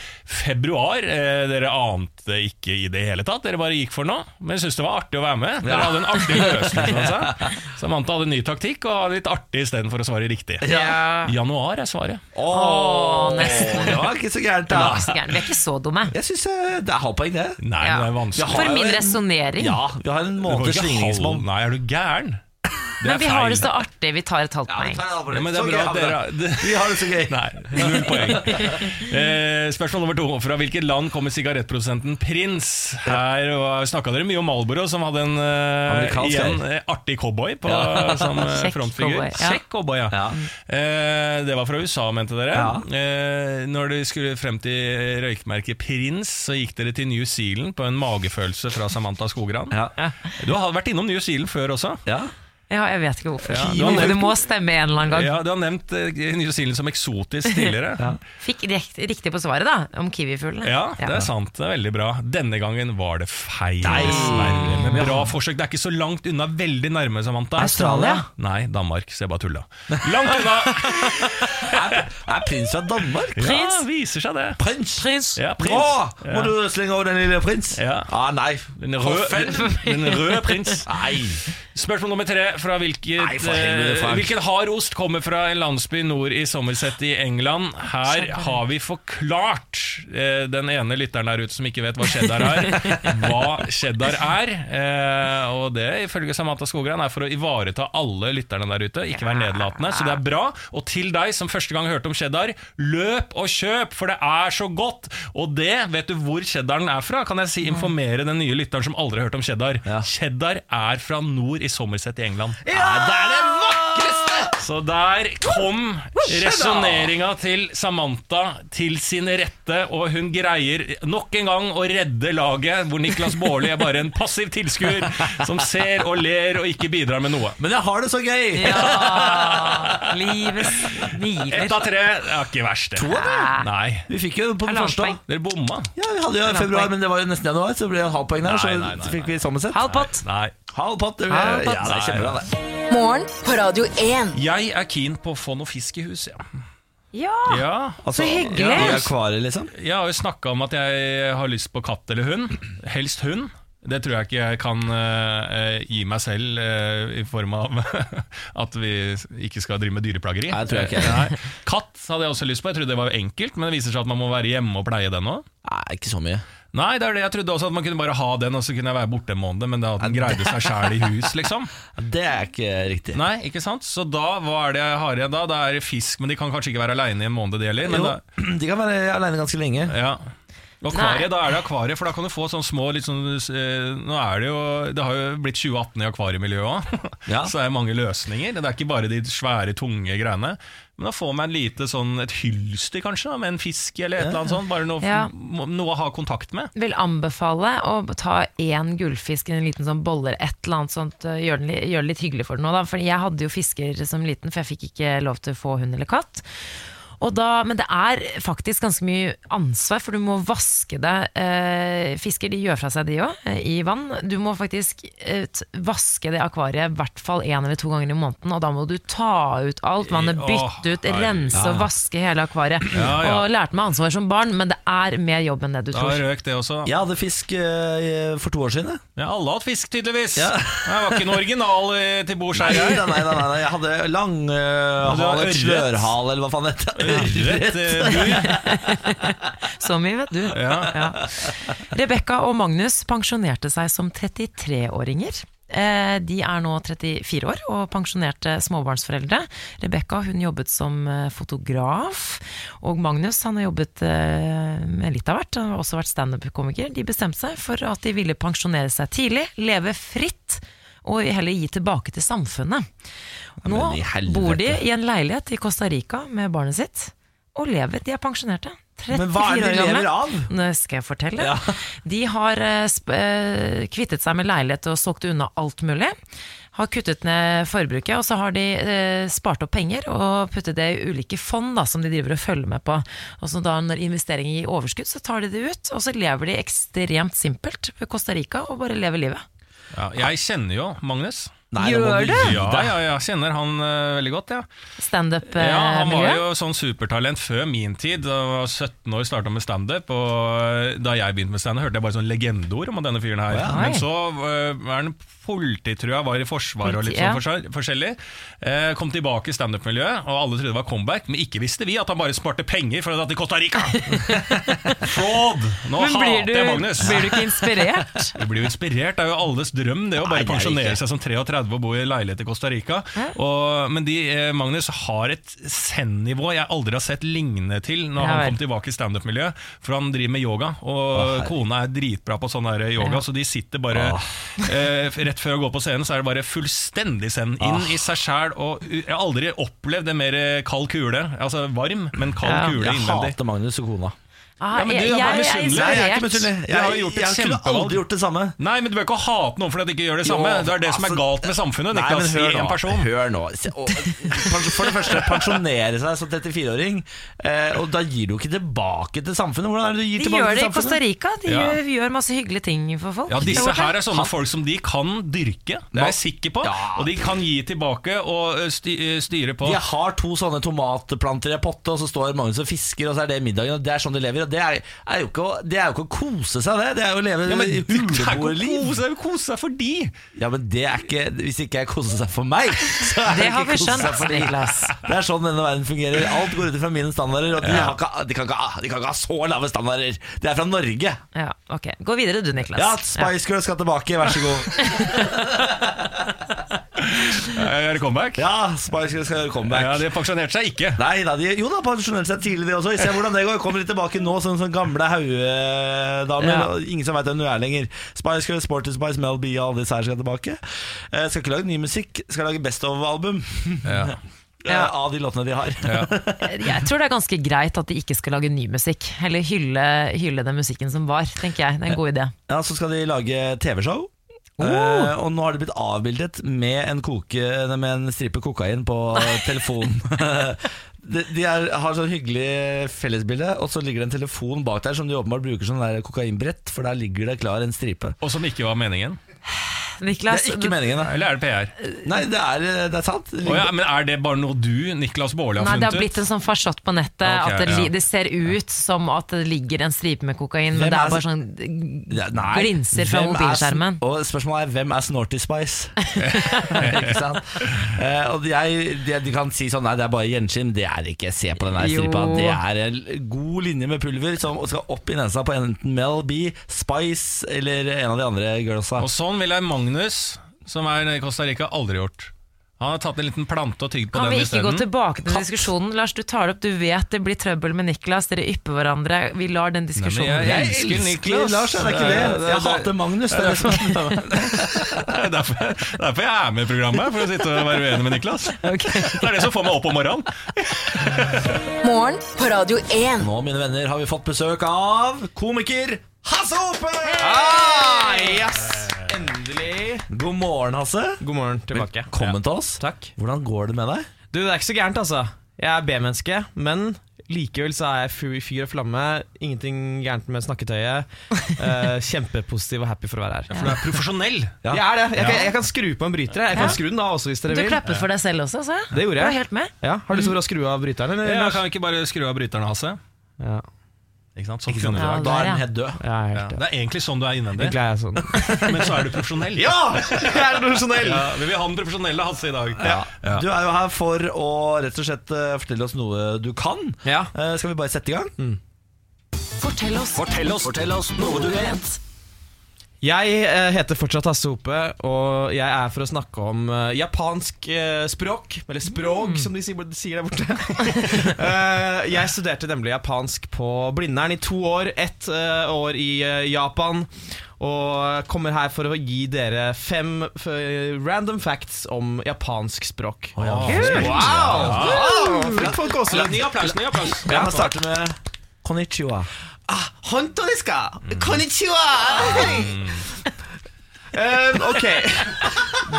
Speaker 2: februar. Eh, Dere ante ikke i det hele tatt. Dere bare gikk for nå, men syntes det var artig å være med. Dere hadde en artig løsning. som han sa. Samantha hadde ny taktikk og hadde litt artig istedenfor å svare riktig.
Speaker 3: Ja.
Speaker 2: Januar er svaret.
Speaker 1: Åh,
Speaker 3: nesten.
Speaker 1: det var ikke så gærent,
Speaker 3: Det
Speaker 1: da.
Speaker 3: var ikke så gærent. Vi er ikke så dumme.
Speaker 1: Jeg syns eh, det er halvt poeng, det.
Speaker 2: Nei,
Speaker 3: Ja.
Speaker 2: men det er vanskelig.
Speaker 1: har
Speaker 3: For
Speaker 1: jo
Speaker 3: min
Speaker 1: en-
Speaker 3: resonnering.
Speaker 1: Ja, vi har en
Speaker 2: Du får
Speaker 1: måneds
Speaker 2: ikke halv-
Speaker 1: ligningsmål.
Speaker 2: Nei, er du gæren? Det
Speaker 3: Men
Speaker 2: er
Speaker 3: vi har det
Speaker 2: feil.
Speaker 3: så artig. Vi tar et halvt poeng.
Speaker 2: Ja, men det er bra at dere
Speaker 1: Vi har det så gøy.
Speaker 2: Nei, null poeng. Eh, spørsmål nummer to. Fra hvilket land kommer sigarettprodusenten Prins? Her snakka dere mye om Malboro, som hadde en eh,
Speaker 1: Amerikansk
Speaker 2: igjen,
Speaker 1: eier.
Speaker 2: eh, artig cowboy på, som eh,
Speaker 3: Kjekk
Speaker 2: frontfigur.
Speaker 3: cowboy, ja.
Speaker 2: Kjekk cowboy, ja.
Speaker 1: Ja.
Speaker 2: Eh, det var fra USA, mente dere.
Speaker 1: Ja.
Speaker 2: Eh, når de skulle frem til røykmerket Prins, så gikk dere til New Zealand på en magefølelse fra Samantha Skogran.
Speaker 1: Ja.
Speaker 2: Du har vært innom New Zealand før også.
Speaker 1: Ja.
Speaker 3: Ja, jeg vet ikke hvorfor.
Speaker 2: Ja,
Speaker 3: Du,
Speaker 2: du har-
Speaker 3: må- du må stemme en eller annen gang.
Speaker 2: Ja, du har nevnt eh, New Zealand som eksotisk tidligere.
Speaker 3: Fikk rekt, riktig på svaret, da, om kiwifuglene.
Speaker 2: Ja, det er sant. Det er veldig bra. Denne gangen var det feil. dessverre. Men bra forsøk. Det er ikke så langt unna. Veldig nærme, Samantha.
Speaker 3: Australia?
Speaker 2: Nei, Danmark. Så jeg bare tulla. Langt unna!
Speaker 1: Er, er prins fra Danmark?
Speaker 2: Prins! Ja, viser seg det.
Speaker 1: Prins!
Speaker 3: Prins.
Speaker 2: Ja, prins.
Speaker 1: Åh, må
Speaker 2: Ja.
Speaker 1: du slenge over den lille prins?
Speaker 2: Ja.
Speaker 1: Ah, nei.
Speaker 2: Den
Speaker 1: For
Speaker 2: røde,
Speaker 1: fem.
Speaker 2: den røde prins.
Speaker 1: Nei.
Speaker 2: Spørsmål nummer tre. Fra hvilket,
Speaker 1: Nei, for helvete, Frank.
Speaker 2: eh, hvilken hard ost kommer fra en landsby nord i Somerset i England? Her har vi forklart eh, den ene lytteren der ute som ikke vet hva cheddar er, hva cheddar er. Eh, og det, ifølge Samantha Skogran, er for å ivareta alle lytterne der ute. Ikke være nedlatende, så det er bra. Og til deg som første gang hørte om cheddar, løp og kjøp, for det er så godt! Og det, vet du hvor cheddaren er fra? Kan jeg si informere den nye lytteren som aldri har hørt om cheddar?
Speaker 1: Ja.
Speaker 2: Cheddar er fra nord i Somerset i England.
Speaker 1: Ja, det er det vakreste!
Speaker 2: Så der kom resonneringa til Samantha til sin rette, og hun greier nok en gang å redde laget, hvor Niklas Baarli er bare en passiv tilskuer som ser og ler og ikke bidrar med noe.
Speaker 1: Men jeg har det så gøy!
Speaker 3: Ja, Livet
Speaker 2: Ett
Speaker 3: smiler.
Speaker 2: av tre er ikke verst. det.
Speaker 1: av
Speaker 2: Nei,
Speaker 1: Vi fikk jo på den
Speaker 3: Halvannet
Speaker 1: første.
Speaker 3: poeng.
Speaker 2: dere bomma.
Speaker 1: Ja, Vi hadde jo
Speaker 3: Halvannet
Speaker 1: februar,
Speaker 3: poeng.
Speaker 1: men det var jo nesten januar, så ble det halvt poeng der. Så
Speaker 2: Nei, nei, nei,
Speaker 1: fikk vi sammensett.
Speaker 3: Halv pott.
Speaker 2: Nei.
Speaker 1: Halv pott, det ble-
Speaker 3: Halv pott.
Speaker 1: Ja, det er kjempebra, det.
Speaker 4: Morgen på Radio 1.
Speaker 2: Jeg er keen på å få noe fisk i huset. Ja.
Speaker 3: Ja!
Speaker 2: Ja.
Speaker 1: Altså,
Speaker 3: hyggelig.
Speaker 1: Ja, I akvariet, liksom.
Speaker 2: Jeg har jo snakka om at jeg har lyst på katt eller hund. Helst hund. Det tror jeg ikke jeg kan eh, eh, gi meg selv eh, i form av at vi ikke skal drive med dyreplageri.
Speaker 1: Nei, det tror jeg ikke.
Speaker 2: Nei. Katt hadde jeg også lyst på. Jeg trodde det var enkelt, men det viser seg at man må være hjemme og pleie den òg.
Speaker 1: Nei, ikke så mye.
Speaker 2: Nei, det er det. jeg trodde også at man kunne bare ha den, og så kunne jeg være borte en måned, men det at den greide seg sjæl i hus, liksom.
Speaker 1: Det er ikke riktig.
Speaker 2: Nei, ikke sant? Så da, hva er det jeg har igjen da? Det er fisk, men de kan kanskje ikke være aleine i en måned, de heller. Men
Speaker 1: jo,
Speaker 2: da,
Speaker 1: de kan være aleine ganske lenge.
Speaker 2: Ja Akvariet, Da er det akvariet, for da kan du få sånn små litt sånn, eh, Nå er Det jo Det har jo blitt 2018 i akvariemiljøet òg,
Speaker 1: Ja.
Speaker 2: så det er mange løsninger. Det er ikke bare de svære, tunge greiene. Men da får man en lite sånn, et hylster, kanskje, da, med en fisk eller et eller annet sånt. Bare noe,
Speaker 3: Ja.
Speaker 2: må- noe å ha kontakt med.
Speaker 3: Vil anbefale å ta én gullfisk i en liten sånn boller, et eller annet sånt. øh, Gjør, den, li- gjør det litt hyggelig for den òg, da. For jeg hadde jo fisker som liten, for jeg fikk ikke lov til å få hund eller katt. Og da, men det er faktisk ganske mye ansvar, for du må vaske det. Eh, Fisker de gjør fra seg de òg, i vann. Du må faktisk eh, t- vaske det akvariet i hvert fall én eller to ganger i måneden. Og da må du ta ut alt vannet,
Speaker 2: Åh,
Speaker 3: bytte ut,
Speaker 2: herregud.
Speaker 3: rense og vaske hele akvariet.
Speaker 2: Ja, ja.
Speaker 3: Og lærte meg ansvar som barn, men det er mer jobb enn det du
Speaker 2: Da
Speaker 3: tror.
Speaker 2: røk det også. Ja.
Speaker 1: Jeg hadde fisk eh, for to år siden. jeg.
Speaker 2: alle har hatt fisk, tydeligvis.
Speaker 1: Ja.
Speaker 2: Jeg var ikke noe original eh, til bords
Speaker 1: Nei, nei,
Speaker 2: her.
Speaker 1: nei, nei, nei. Jeg hadde
Speaker 2: du har
Speaker 1: langhale,
Speaker 2: ørret.
Speaker 1: slørhale, eller hva faen det heter.
Speaker 2: Ørret, eh, bur.
Speaker 3: Så mye vet du. Ja. Rebekka og Magnus pensjonerte seg som 33-åringer. Eh, De er nå 34 år og pensjonerte småbarnsforeldre. Rebekka hun jobbet som eh, fotograf, og Magnus han har jobbet eh, med litt av hvert. Han har også vært standup-komiker. De bestemte seg for at de ville pensjonere seg tidlig, leve fritt, og heller gi tilbake til samfunnet. Nå
Speaker 1: men i helvete.
Speaker 3: bor de i en leilighet i Costa Rica med barnet sitt, og lever. De er pensjonerte. 34
Speaker 1: Men hva er det
Speaker 3: år
Speaker 1: de
Speaker 3: gamle.
Speaker 1: lever av?
Speaker 3: Nå skal jeg fortelle.
Speaker 1: Ja.
Speaker 3: De har eh, sp eh, kvittet seg med leilighet og solgt unna alt mulig. Har kuttet ned forbruket, og så har de eh, spart opp penger og puttet det i ulike fond da, som de driver og følger med på. Og så da Når investeringer gir overskudd, så tar de det ut, og så lever de ekstremt simpelt ved Costa Rica og bare lever livet.
Speaker 2: Ja, jeg kjenner jo Magnus.
Speaker 1: Nei, nå må
Speaker 3: Gjør
Speaker 1: du
Speaker 3: du?
Speaker 1: gi
Speaker 2: Ja,
Speaker 1: deg.
Speaker 2: ja, jeg kjenner han eh, veldig godt, ja. Ja,
Speaker 3: eh,
Speaker 2: han var
Speaker 3: Standup-miljø?
Speaker 2: jo sånn supertalent før min tid. Da jeg var 17 år starta med standup. Og da jeg begynte med standup, hørte jeg bare sånn legendeord om denne fyren her.
Speaker 3: Oi.
Speaker 2: Men så øh, er han politi, tror jeg, var i Forsvaret og litt
Speaker 3: Politi, ja.
Speaker 2: sånn forskjell- forskjellig. Eh, kom tilbake i standup-miljøet, og alle trodde det var comeback. Men ikke visste vi at han bare sparte penger for å dra til Costa Rica! Fraud! Nå
Speaker 3: Men blir
Speaker 2: hater
Speaker 3: du,
Speaker 2: jeg Magnus!
Speaker 3: blir du ikke inspirert?
Speaker 2: Du blir jo inspirert, det er jo alles drøm Det å
Speaker 1: Nei,
Speaker 2: bare
Speaker 1: det er
Speaker 2: pensjonere
Speaker 1: ikke.
Speaker 2: seg som 33 og bo i leilighet i Costa Rica og, Men de, eh, Magnus har et sendnivå jeg aldri har sett lignende til Når
Speaker 3: Ja,
Speaker 2: han
Speaker 3: vel.
Speaker 2: kom tilbake i stand-up-miljøet For han driver med yoga Og kona er dritbra på sånn der yoga
Speaker 3: Ja.
Speaker 2: Så de sitter bare eh, Rett før å gå på scenen så er det bare fullstendig send Inn i seg selv Og u- jeg har aldri opplevd en mer eh, kald kule Altså varm, men kald
Speaker 3: Ja.
Speaker 2: kule
Speaker 1: Jeg
Speaker 2: innvendig
Speaker 1: hater Magnus og kona.
Speaker 3: Ah,
Speaker 2: Ja, men du
Speaker 3: jeg,
Speaker 2: er bare
Speaker 3: jeg er
Speaker 2: misunnelig.
Speaker 1: Nei, jeg er ikke
Speaker 3: inspirert.
Speaker 1: misunnelig.
Speaker 2: Du har
Speaker 1: Jeg,
Speaker 2: jo gjort et
Speaker 1: jeg kunne
Speaker 2: kjempevalg.
Speaker 1: aldri gjort det samme.
Speaker 2: Nei, men du bør ikke hate noen fordi de ikke gjør det samme.
Speaker 1: Jo,
Speaker 2: det er det som er
Speaker 1: altså,
Speaker 2: galt med samfunnet.
Speaker 1: Nei, men
Speaker 2: Niklas,
Speaker 1: hør
Speaker 2: i en
Speaker 1: nå,
Speaker 2: person.
Speaker 1: Hør nå. Se- og- pens- For det første, pensjonere seg som 34-åring, eh, og da gir du jo ikke tilbake til samfunnet. Hvordan er det du gir
Speaker 3: De
Speaker 1: tilbake
Speaker 3: gjør det
Speaker 1: til
Speaker 3: i Costa
Speaker 1: samfunnet?
Speaker 3: Rica. De
Speaker 2: Ja.
Speaker 3: gjør, gjør masse hyggelige ting for folk.
Speaker 2: Ja,
Speaker 3: der
Speaker 2: Disse
Speaker 3: borte.
Speaker 2: her er sånne folk som de kan dyrke, det er jeg sikker på.
Speaker 1: Ja.
Speaker 2: Og de kan gi tilbake og ø, sty ø, styre på.
Speaker 1: Jeg har to sånne tomatplanter i en potte, og så står Magnus og fisker, og så er det middagen. Og det er sånn de lever. Og det er, er jo ikke å, det er jo ikke å kose seg, det. Det er jo å leve
Speaker 2: Ja, men det er ikke å
Speaker 1: huleboerliv.
Speaker 2: kose seg, kose seg for de!
Speaker 1: Ja, men det er ikke Hvis ikke jeg koser seg for meg, så er
Speaker 3: Det
Speaker 1: det
Speaker 3: har vi
Speaker 1: ikke kose seg
Speaker 3: skjønt,
Speaker 1: for de.
Speaker 3: Niklas.
Speaker 1: Det er sånn denne verden fungerer. Alt går ut fra mine standarder. Og de, har ikke, de, kan ikke, ha- de kan ikke ha så lave standarder. Det er fra Norge.
Speaker 3: Ja, ok. Gå videre du, Niklas.
Speaker 1: Ja, Spice Girls skal tilbake, vær så god.
Speaker 2: Er det comeback?
Speaker 1: Ja, Spice Girls skal gjøre comeback.
Speaker 2: Ja, De pensjonerte seg ikke.
Speaker 1: Nei da, de, jo da, pensjonerte seg tidlig de også. Vi ser hvordan det går. Kommer de tilbake nå som sånn gamle haugedamer?
Speaker 3: Ja.
Speaker 1: og Ingen som veit hvem du er lenger. Spice Girls, Sporty Spice, Mel B og alle disse her skal tilbake. Eh, skal ikke lage ny musikk, skal lage best of-album
Speaker 2: Ja.
Speaker 3: Ja.
Speaker 1: eh, av de låtene de har.
Speaker 3: Jeg tror det er ganske greit at de ikke skal lage ny musikk. Eller hylle, hylle den musikken som var, tenker jeg. Det er en god idé.
Speaker 1: Ja, så skal de lage TV-show.
Speaker 2: Oh.
Speaker 1: Eh, og nå har det blitt avbildet med en, koke, nei, med en stripe kokain på telefonen. de de er, har sånn hyggelig fellesbilde, og så ligger det en telefon bak der som de åpenbart bruker som der kokainbrett, for der ligger det klar en stripe.
Speaker 2: Og som ikke var meningen.
Speaker 1: Det
Speaker 3: Niklas,
Speaker 1: er ikke meningen, nei.
Speaker 2: Eller er Altså, det PR?
Speaker 1: Nei, det er, eh, det er sant. Det
Speaker 2: Å ja,
Speaker 1: ligger-
Speaker 2: men Er det bare noe du, Niklas Baarli,
Speaker 3: Nei,
Speaker 2: har
Speaker 3: det har
Speaker 2: funnet
Speaker 3: blitt
Speaker 2: ut?
Speaker 3: en sånn farsott på nettet.
Speaker 2: Ok,
Speaker 3: at det, li-
Speaker 2: ja.
Speaker 3: det ser ut som at det ligger en stripe med kokain,
Speaker 1: Hvem
Speaker 3: men
Speaker 1: er
Speaker 3: det er bare
Speaker 1: som-
Speaker 3: sånn
Speaker 1: Ja, nei.
Speaker 3: glinser
Speaker 1: Hvem er
Speaker 3: fra
Speaker 1: sn-
Speaker 3: mobilskjermen.
Speaker 1: Og spørsmålet er hvem er Snorty Spice? ikke sant? Eh, og jeg, de, de kan si sånn nei, det er bare gjenskinn. Det er det ikke. Se på den der
Speaker 3: Jo.
Speaker 1: stripa. Det er en god linje med pulver som skal opp i nesa på enten Mel B, Spice eller en av de andre girlsa.
Speaker 2: Og sånn ville Magnus, som er i Costa Rica, aldri gjort. Han har tatt en liten plante og tygd på
Speaker 3: Kan vi
Speaker 2: den
Speaker 3: ikke gå
Speaker 2: isteden.
Speaker 3: tilbake til diskusjonen? Lars, du tar det opp. Du vet det blir trøbbel med Niklas. Dere ypper hverandre. Vi lar den diskusjonen
Speaker 2: jeg-
Speaker 3: ligge.
Speaker 2: jeg elsker Niklas.
Speaker 1: Lars, er det ikke det? Jeg hater Magnus. Det er det som er problemet.
Speaker 2: Det er derfor, det er derfor jeg er med i programmet, for å sitte og være uenig med Niklas.
Speaker 3: Ok.
Speaker 2: Det er det som får meg opp om morgenen.
Speaker 4: Morgen på Radio 1.
Speaker 1: Nå, mine venner, har vi fått besøk av komiker Hasse Hope! Ah, yes! Endelig. God morgen, Hasse.
Speaker 7: God morgen tilbake.
Speaker 1: Velkommen til oss.
Speaker 7: Takk.
Speaker 1: Hvordan går det med deg?
Speaker 7: Du, det er ikke så gærent, altså. Jeg er B-menneske, men likevel så er jeg fyr, fyr og flamme. Ingenting gærent med snakketøyet. Eh, kjempepositiv og happy for å være her.
Speaker 2: For du er profesjonell.
Speaker 7: Jeg er det. Jeg kan, jeg kan skru på en bryter. jeg. Jeg kan skru den av også, hvis dere
Speaker 3: Du
Speaker 7: vil.
Speaker 3: klappet for deg selv også, sa jeg.
Speaker 7: Det gjorde
Speaker 3: Du var
Speaker 7: jeg.
Speaker 3: helt med.
Speaker 7: Ja, har du lyst til å skru av bryteren, eller?
Speaker 2: Ja,
Speaker 7: Lars?
Speaker 2: kan vi ikke bare skru av bryterne, Hasse?
Speaker 7: Ja,
Speaker 2: Ikke sant? Sånn fungerer
Speaker 3: Ja,
Speaker 1: Da
Speaker 2: det.
Speaker 3: der,
Speaker 1: er
Speaker 3: ja.
Speaker 1: den helt død.
Speaker 7: jeg er
Speaker 2: Ja,
Speaker 7: helt
Speaker 2: det er egentlig sånn du er innvendig,
Speaker 7: Egentlig er jeg sånn.
Speaker 2: men så er du profesjonell.
Speaker 7: Ja! Jeg er profesjonell!
Speaker 2: Ja, vi vil ha den profesjonelle Hasse i dag. Ja.
Speaker 1: Du er jo her for å rett og slett eh, fortelle oss noe du kan.
Speaker 7: Ja.
Speaker 1: Eh, Skal vi bare sette i gang?
Speaker 3: Fortell oss.
Speaker 6: Fortell oss, fortell oss noe du vet.
Speaker 7: Jeg eh, heter fortsatt Hasse Hope, og jeg er for å snakke om eh, japansk eh, språk. Eller språk, som de sier, de sier der borte. Eh, jeg studerte nemlig japansk på Blindern i to år. Ett eh, år i eh, Japan. Og kommer her for å gi dere fem f eh, random facts om japansk språk.
Speaker 2: Kult!
Speaker 7: Wow! Fikk folk gåsehud.
Speaker 2: Ny applaus, ny applaus.
Speaker 1: La meg starte med konnichiwa.
Speaker 7: Honto desu ka? Konnichiwa! um, ok,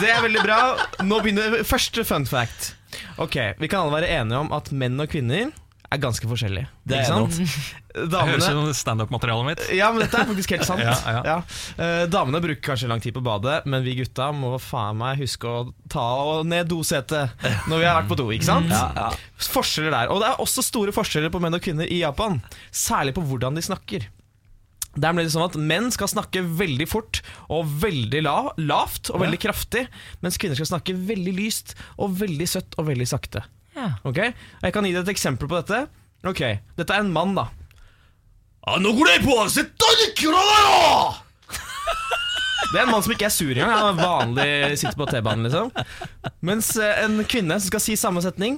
Speaker 7: det er veldig bra. Nå begynner første fun fact. Ok, Vi kan alle være enige om at menn og kvinner er ganske forskjellig.
Speaker 1: Det er
Speaker 7: ikke sant?
Speaker 2: Det høres ut
Speaker 7: Damene
Speaker 2: som standup-materialet mitt.
Speaker 7: ja, men dette er faktisk helt sant.
Speaker 2: Ja, ja.
Speaker 7: Eh, damene bruker kanskje lang tid på badet, men vi gutta må faen meg huske å ta og ned dosetet når vi har vært på do. ikke
Speaker 2: Mm,
Speaker 7: sant? Forskjeller der. Og det er også store forskjeller på menn og kvinner i Japan. Særlig på hvordan de snakker. Der ble det sånn at Menn skal snakke veldig fort og veldig la lavt og veldig kraftig, mens kvinner skal snakke veldig lyst og veldig søtt og veldig sakte.
Speaker 3: Ja.
Speaker 7: Ok? Og Jeg kan gi deg et eksempel på dette. Ok, Dette er en mann, da. Det er en mann som ikke er sur engang. Han er vanlig sitter på T-banen, liksom. Mens eh, en kvinne som skal si samme setning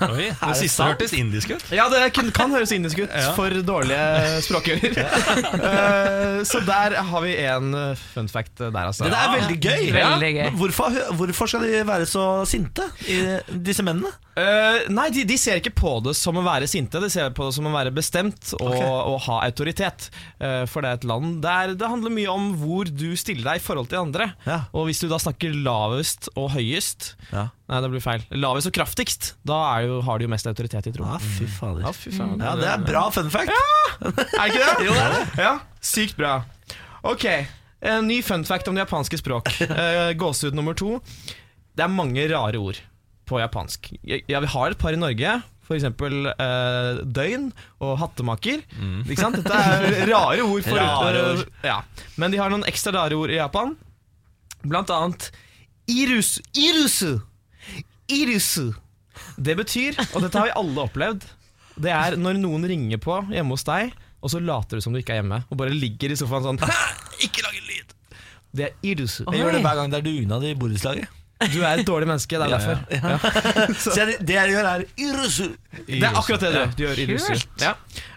Speaker 2: Oi, det siste hørtes indisk ut.
Speaker 7: Ja, det kan, kan høres indisk ut for dårlige språkgjører. Eh, så der har vi en eh, fun fact der, altså.
Speaker 1: Det der er veldig gøy!
Speaker 3: Veldig gøy.
Speaker 1: Men Hvorfor, hvorfor skal de være så sinte, i disse mennene?
Speaker 7: Eh, nei, de, de ser ikke på det som å være sinte, de ser på det som å være bestemt og, og ha autoritet. Eh, for det er et land der det handler mye om hvor du stiller deg i forhold til andre.
Speaker 1: Ja.
Speaker 7: Og hvis du da snakker lavest og høyest
Speaker 1: Ja.
Speaker 7: Nei, det blir feil. Lavest og kraftigst, da er jo, har de jo mest autoritet i Mm.
Speaker 1: Ja,
Speaker 7: troen.
Speaker 1: fy fader.
Speaker 7: Ja, fy faen.
Speaker 1: Ja, det er bra fun fact.
Speaker 7: Er det ikke det? jo, det er det. Ja, Sykt bra. Ok, en ny fun fact om det japanske språk. Eh, Gåsehud nummer to. Det er mange rare ord på japansk. Ja, vi har et par i Norge. For eksempel eh, døgn og hattemaker. Ikke sant? Dette er Mm. rare ord. For
Speaker 1: Rare ord.
Speaker 7: Ja. Men de har noen ekstra rare ord i Japan. Blant annet irus, irusu, irusu. Det betyr, og dette har vi alle opplevd, det er når noen ringer på hjemme hos deg, og så later du som du ikke er hjemme, og bare ligger i sofaen sånn Ikke lager lyd! Det er irusu.
Speaker 1: Jeg gjør det hver gang det er dugnad i borettslaget.
Speaker 7: Du er et dårlig menneske, det er derfor.
Speaker 1: Så jeg, det jeg gjør, er irusu.
Speaker 7: Det er akkurat det du gjør. Du gjør irusu. Ja.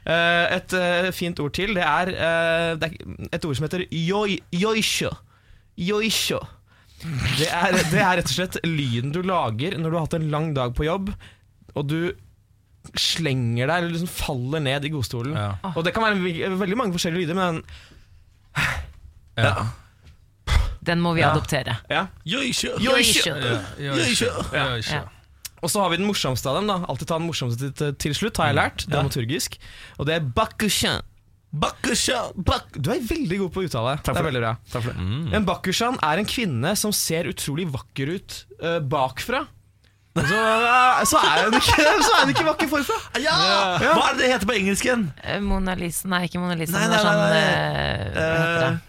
Speaker 7: Eh, Et eh, fint ord til, det er, eh, det er et ord som heter yoi, yoisho. Yoisho. Det er, det er rett og slett lyden du lager når du har hatt en lang dag på jobb, og du slenger deg, eller liksom faller ned i godstolen.
Speaker 2: Ja.
Speaker 7: Og det kan være ve- veldig mange forskjellige lyder, men
Speaker 2: Ja.
Speaker 3: Den må vi adoptere.
Speaker 7: ja.
Speaker 1: Yoisho.
Speaker 7: Yoisho.
Speaker 3: Yoisho.
Speaker 2: Ja, ikke.
Speaker 3: Ja.
Speaker 7: Og så har vi den morsomste av dem, da. Alltid ta den morsomste til, til slutt,
Speaker 1: Mm.
Speaker 7: har jeg lært, dramaturgisk. Og det er bakushan.
Speaker 1: Bakusha.
Speaker 7: Bak du er veldig god på å uttale. det er veldig bra.
Speaker 1: Mm.
Speaker 7: En bakushan er en kvinne som ser utrolig vakker ut eh, bakfra. Og Så, eh, så, er hun ikke, så er hun ikke vakker forfra.
Speaker 1: Ja! Hva er det det heter på engelsk igjen?
Speaker 3: Eh, Mona Lisa Nei, ikke Mona Lisa.
Speaker 1: Nei,
Speaker 3: men det er
Speaker 1: nei, nei, nei.
Speaker 3: sånn, eh, hva heter det?
Speaker 1: Eh,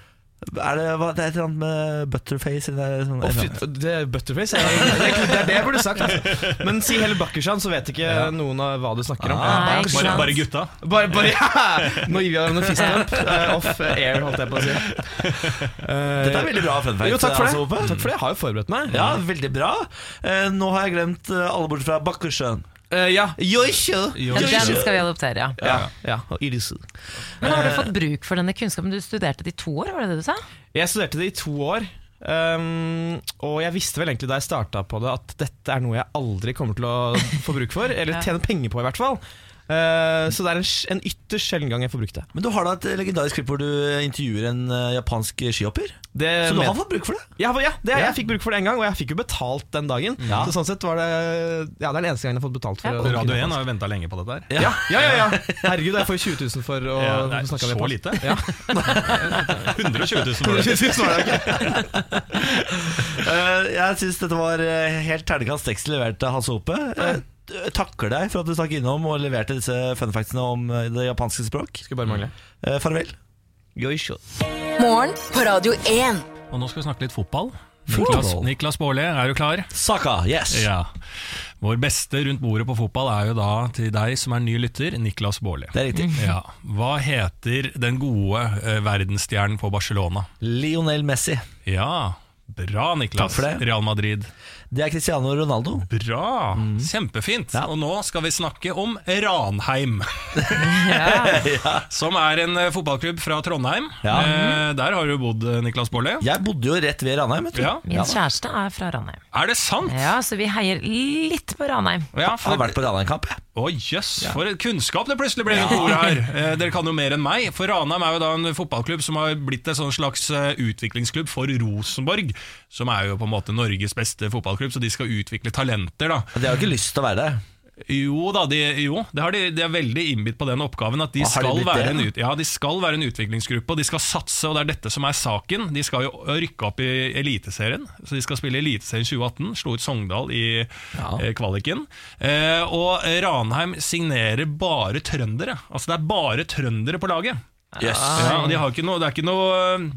Speaker 1: er det, hva, det er et eller annet med butterface eller sånn.
Speaker 7: Å, fy, det er butterface. er Det det er det er det jeg burde sagt. altså. Men si heller bakushan, så vet ikke noen av hva du snakker om.
Speaker 3: Nei,
Speaker 1: Ah,
Speaker 3: ikke
Speaker 2: Bare,
Speaker 3: sant.
Speaker 2: bare gutta.
Speaker 7: Bare, bare ja. Nå gir vi deg noen fistbump. eh, off air, holdt jeg på å si. Eh,
Speaker 1: Dette er veldig bra fun fact.
Speaker 7: jo, takk for,
Speaker 1: altså,
Speaker 7: det.
Speaker 1: Oppe.
Speaker 7: takk for det. Jeg har jo forberedt meg.
Speaker 1: Ja, veldig bra. Eh, nå har jeg glemt eh, alle bortsett fra Bakkersjøen.
Speaker 7: Eh, ja. Yoisho.
Speaker 3: Ja, den skal vi adoptere, ja.
Speaker 7: Ja, ja. og Irisu.
Speaker 3: Men har du fått bruk for denne kunnskapen? Du studerte det i to år, var det det du sa?
Speaker 7: Jeg studerte det i to år. ehm, og jeg visste vel egentlig da jeg starta på det, at dette er noe jeg aldri kommer til å få bruk for. Eller
Speaker 3: Ja.
Speaker 7: tjene penger på, i hvert fall. Eh, så det er en, sj- en ytterst sjelden gang jeg får brukt det.
Speaker 1: Men du har da et legendarisk klipp hvor du intervjuer en eh, japansk skihopper.
Speaker 7: det
Speaker 1: Så du
Speaker 7: men-
Speaker 1: har fått bruk for det?
Speaker 7: ja, ja, det,
Speaker 1: Ja.
Speaker 7: jeg fikk bruk for det en gang, og jeg fikk jo betalt den dagen.
Speaker 1: Ja.
Speaker 7: Så sånn sett var det Ja, det er den eneste gangen jeg har fått betalt for
Speaker 3: Ja.
Speaker 7: å-
Speaker 2: Radio 1 har jo venta lenge på dette her.
Speaker 7: Ja, ja, ja, ja. Herregud, jeg får 20 000 for å
Speaker 2: Ja, det er
Speaker 7: snakke
Speaker 2: så
Speaker 7: om Japan.
Speaker 2: lite.
Speaker 7: Ja.
Speaker 2: 120 000 for det.
Speaker 7: 20 000 var det ikke.
Speaker 1: Eh, jeg syns dette var eh, helt terningkast seks levert av Hasse Hope. Eh, takker deg for at du stakk innom og leverte disse fun factsene om eh, det japanske språk.
Speaker 7: Skulle bare mangle.
Speaker 1: Eh, farvel.
Speaker 7: Yoisho.
Speaker 4: Morgen på Radio 1.
Speaker 2: Og nå skal vi snakke litt fotball.
Speaker 1: Fotball.
Speaker 2: Niklas, Niklas Baarli, er du klar?
Speaker 1: Saka, yes!
Speaker 2: Ja. Vår beste rundt bordet på fotball er jo da til deg som er ny lytter, Niklas Baarli.
Speaker 1: Det er riktig.
Speaker 2: Ja. Hva heter den gode eh, verdensstjernen på Barcelona?
Speaker 1: Lionel Messi.
Speaker 2: Ja, bra Niklas.
Speaker 1: Takk for det.
Speaker 2: Real Madrid.
Speaker 1: Det er Cristiano Ronaldo.
Speaker 2: Bra! Kjempefint.
Speaker 1: Mm. Ja.
Speaker 2: Og nå skal vi snakke om Ranheim. Som er en eh, fotballklubb fra Trondheim.
Speaker 1: Ja.
Speaker 2: Eh, der har du bodd, eh, Niklas Baarli.
Speaker 1: Jeg bodde jo rett ved Ranheim. Vet du.
Speaker 2: Ja.
Speaker 3: Min kjæreste er fra Ranheim.
Speaker 2: Er det sant?
Speaker 3: Ja, så vi heier litt på Ranheim.
Speaker 2: Ja,
Speaker 1: Jeg har
Speaker 2: for,
Speaker 1: vært på Ranheim-kamp. jeg.
Speaker 2: Å jøss, for en kunnskap det plutselig ble rundt ordet her. Eh, dere kan jo mer enn meg. For Ranheim er jo da en fotballklubb som har blitt en sånn slags eh, utviklingsklubb for Rosenborg, som er jo på en måte Norges beste fotballklubb, så de skal utvikle talenter. da
Speaker 1: De har jo ikke lyst til å være der.
Speaker 2: Jo da, de, jo, det har de, de er veldig innbitt på den oppgaven. At de,
Speaker 1: Ah, har de
Speaker 2: skal
Speaker 1: blitt det,
Speaker 2: være en,
Speaker 1: da?
Speaker 2: ut, ja, de skal være en utviklingsgruppe, og de skal satse. Og det er dette som er saken. De skal jo rykke opp i Eliteserien. Så de skal spille Eliteserien 2018. Slo ut Sogndal i eh, kvaliken. Eh, og Ranheim signerer bare trøndere. Altså det er bare trøndere på laget.
Speaker 1: Yes.
Speaker 2: Ja, og de har ikke noe, det er ikke noe um,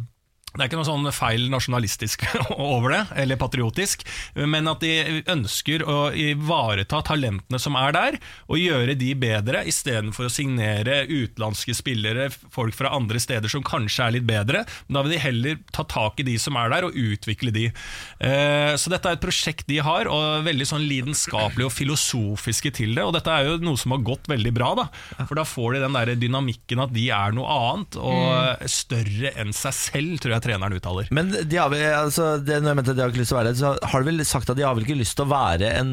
Speaker 2: det er ikke noe sånn feil nasjonalistisk over det, eller patriotisk, men at de ønsker å ivareta talentene som er der, og gjøre de bedre, istedenfor å signere utenlandske spillere, folk fra andre steder som kanskje er litt bedre. Men da vil de heller ta tak i de som er der, og utvikle de. Eh, Så dette er et prosjekt de har, og veldig sånn lidenskapelige og filosofiske til det. Og dette er jo noe som har gått veldig bra, da. For da får de den der dynamikken at de er noe annet,
Speaker 1: Mm.
Speaker 2: og større enn seg selv, tror jeg treneren uttaler.
Speaker 1: Men de har, vel- altså, det, når jeg mente at de har ikke lyst til å være der, så har de vel sagt at de har vel ikke lyst til å være en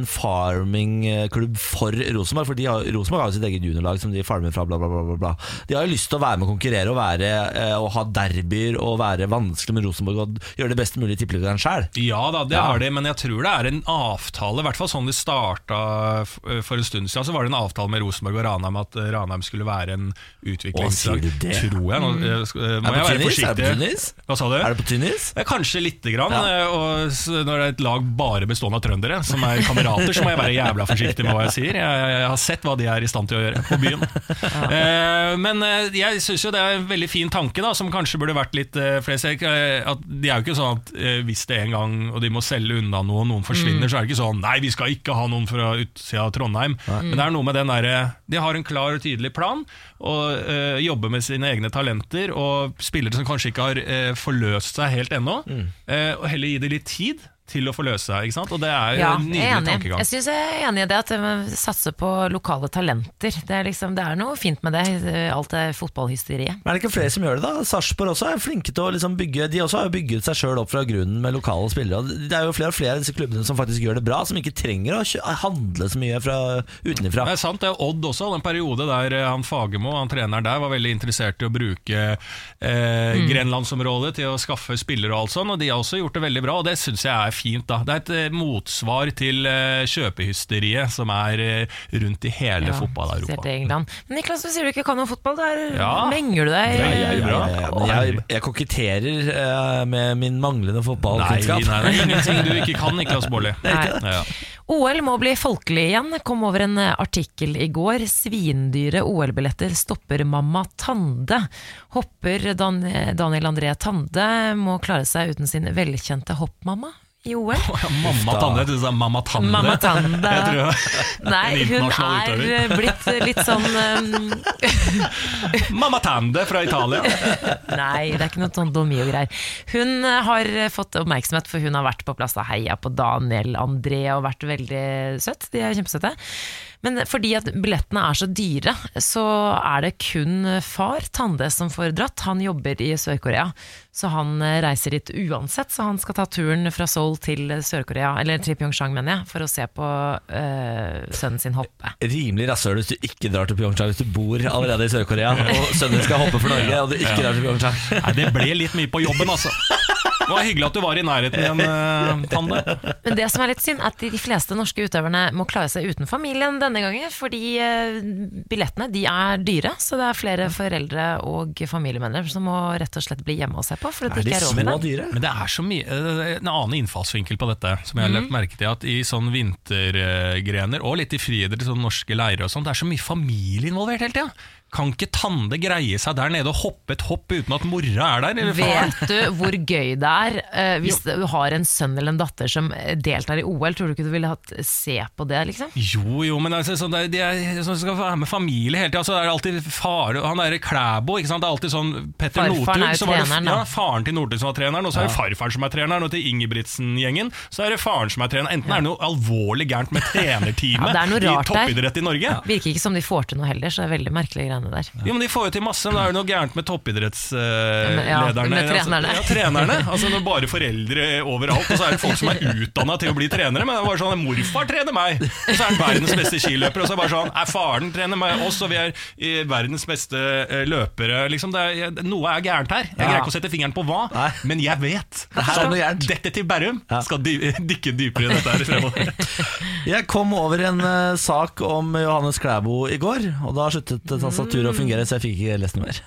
Speaker 1: farmingklubb for Rosenborg. For de har- Rosenborg har jo sitt eget juniorlag som de farmer fra, bla, bla, bla. bla, bla. De har jo lyst til å være med og konkurrere og, være, eh, og ha derbyer og være vanskelig med Rosenborg og gjøre det best mulig i tippeligaen sjøl.
Speaker 2: Ja da, det har de, men jeg tror det er en avtale. I hvert fall sånn de starta f- for en stund siden. Så var det en avtale med Rosenborg og Ranheim at eh, Ranheim skulle være en
Speaker 1: sier
Speaker 2: utviklingslag.
Speaker 1: du det? Mm.
Speaker 2: Tror jeg. Nå eh, sk- eh, må
Speaker 1: Er det
Speaker 2: jeg
Speaker 1: på tynnis? Er
Speaker 2: være
Speaker 1: det på
Speaker 2: forsiktig.
Speaker 1: tynnis?
Speaker 2: Hva sa du?
Speaker 1: Er det på tynnis?
Speaker 2: Eh, Kanskje lite grann.
Speaker 1: Ja.
Speaker 2: eh, Og s- når det er et lag bare bestående av trøndere, som er kamerater, så må jeg være jævla forsiktig med hva jeg sier. Jeg, jeg, jeg har sett hva de er i stand til å gjøre på byen. Eh, Men eh, jeg syns jo det er en veldig fin tanke, da, som kanskje burde vært litt eh, flest. Jeg- eh, At de er jo ikke sånn at eh, hvis det en gang og de må selge unna noe, og noen forsvinner,
Speaker 3: Mm.
Speaker 2: så er det ikke sånn Nei, vi skal ikke ha noen fra utsida av Trondheim. Men det er noe med den derre De har en klar og tydelig plan, og øh, jobber med sine egne talenter og spillere som kanskje ikke har øh, forløst seg helt ennå,
Speaker 3: Mm.
Speaker 2: øh, og heller gi dem litt tid til å forløse seg. ikke sant? Og det er jo
Speaker 3: Ja,
Speaker 2: en
Speaker 3: jeg er
Speaker 2: nydelig
Speaker 3: enig.
Speaker 2: tankegang.
Speaker 3: Jeg synes jeg er enig i det at man satser på lokale talenter. Det er, liksom, det er noe fint med det, alt det fotballhysteriet.
Speaker 1: Men er det ikke flere som gjør det, da? Sarpsborg også er flinke til å liksom bygge De også har jo bygget seg sjøl opp fra grunnen med lokale spillere. Og det er jo flere og flere av disse klubbene som faktisk gjør det bra, som ikke trenger å kjø- handle så mye fra utenfra.
Speaker 2: Det er sant, det er Odd også. Den periode der eh, han Fagermo, han treneren der, var veldig interessert i å bruke eh,
Speaker 3: Mm.
Speaker 2: Grenlandsområdet til å skaffe spillere og alt sånn, og de har også gjort det veldig bra, og det syns jeg er fint. da. Det er et eh, motsvar til eh, kjøpehysteriet som er eh, rundt i hele
Speaker 3: spesielt
Speaker 2: fotball-Europa.
Speaker 3: i England. Men Niklas, du sier du ikke kan noe fotball. Der
Speaker 2: Ja.
Speaker 3: menger du deg.
Speaker 2: Nei, jeg er bra.
Speaker 1: Ja, ja, ja, Eh, men jeg, jeg koketterer eh, med min manglende
Speaker 2: Nei, nei,
Speaker 1: fotballkunnskap.
Speaker 2: det er ingenting du ikke kan, Niklas Baarli.
Speaker 3: ikke
Speaker 2: Ja.
Speaker 3: OL må bli folkelig igjen, kom over en eh, artikkel i går. Svindyre OL-billetter stopper mamma Tande. Hopper Dan eh, Daniel André Tande må klare seg uten sin velkjente hoppmamma i OL.
Speaker 2: Mamma Tanne, du sa Mamma Tanne.
Speaker 3: Mamma Tande.
Speaker 2: Jeg tror
Speaker 3: Nei,
Speaker 2: En
Speaker 3: hun
Speaker 2: internasjonal
Speaker 3: er
Speaker 2: utøver.
Speaker 3: eh, blitt eh, litt sånn um,
Speaker 2: Mamma Tande fra Italia.
Speaker 3: Nei, det er ikke noe sånn domi og greier. Hun eh, har eh, fått oppmerksomhet, for hun har vært på plass og heia på Daniel André og vært veldig søtt. De er kjempesøte. Men fordi at billettene er så dyre, så er det kun far, Tande, som får dratt. Han jobber i Sør-Korea, så han eh, reiser dit uansett. Så han skal ta turen fra Seoul til Sør-Korea, eller til Pyeongchang, mener jeg, for å se på eh, sønnen sin hoppe.
Speaker 1: Rimelig rasshøl hvis du ikke drar til Pyeongchang hvis du bor allerede i Sør-Korea og sønnen skal hoppe for Norge, og du ikke drar til Pyeongchang.
Speaker 2: Nei, det ble litt mye på jobben, altså. Det var hyggelig at du var i nærheten igjen, eh, Tande.
Speaker 3: Men det som er litt synd, er at de fleste norske utøverne må klare seg uten familien denne gangen. Fordi eh, billettene de er dyre, så det er flere foreldre og familiemedlemmer som må rett og slett bli hjemme og se på. For at
Speaker 1: Er
Speaker 3: det
Speaker 1: de
Speaker 3: ikke er råd til
Speaker 1: små
Speaker 3: det.
Speaker 1: dyre?
Speaker 2: Men det er så mye eh, En annen innfallsvinkel på dette Som jeg har lagt merke til At i sånn vintergrener Og litt i friidrett, Sånn norske leirer og sånt Det er så mye familie involvert hele tiden Kan ikke Tande greie seg der nede Og hoppe et hopp uten at mora er der Eller faren
Speaker 3: Vet du hvor gøy det er eh, hvis du har en sønn eller en datter som eh, deltar i OL? Tror du ikke du ville hatt eh, se på det, liksom?
Speaker 2: Jo, jo, men altså, sånn, det er- de er, sånn, skal være med familie hele tida. Så er det alltid fare Han derre Klæbo, ikke sant. Det er alltid sånn Petter
Speaker 3: Farfaren
Speaker 2: Northug.
Speaker 3: er jo
Speaker 2: så var det-
Speaker 3: treneren, da.
Speaker 2: ja, faren til Northug som var treneren, og så er det farfaren som er treneren. Og til Ingebrigtsen-gjengen så er det faren som er treneren. Enten er det noe alvorlig gærent med trenerteamet
Speaker 3: Ja, det er noe rart
Speaker 2: i
Speaker 3: der.
Speaker 2: toppidrett i Norge.
Speaker 3: Virker ikke som de får til noe heller, så det er veldig merkelige trene der.
Speaker 2: Jo, men De får jo til masse, men da er det noe gærent med toppidrettslederne.
Speaker 3: Ja, men- ja, med trenerne.
Speaker 2: Altså, ja, trenerne. Altså, det er bare foreldre overalt, og så er det folk som er utdanna til å bli trenere. Men det er bare sånn, Morfar trener meg, og så er han verdens beste skiløper. Og så er det bare sånn, er faren trener meg oss, og vi er eh, verdens beste eh, løpere. Liksom, det er, noe er gærent her. Jeg greier ikke å sette fingeren på hva,
Speaker 1: Nei.
Speaker 2: men jeg vet.
Speaker 1: her er noe gærent.
Speaker 2: Detektiv Berrum
Speaker 1: Ja.
Speaker 2: skal dy dykke dypere i dette her fremover.
Speaker 1: Jeg kom over en eh, sak om Johannes Klæbo i går, og da sluttet tastaturet å fungere, så jeg fikk ikke lest noe mer.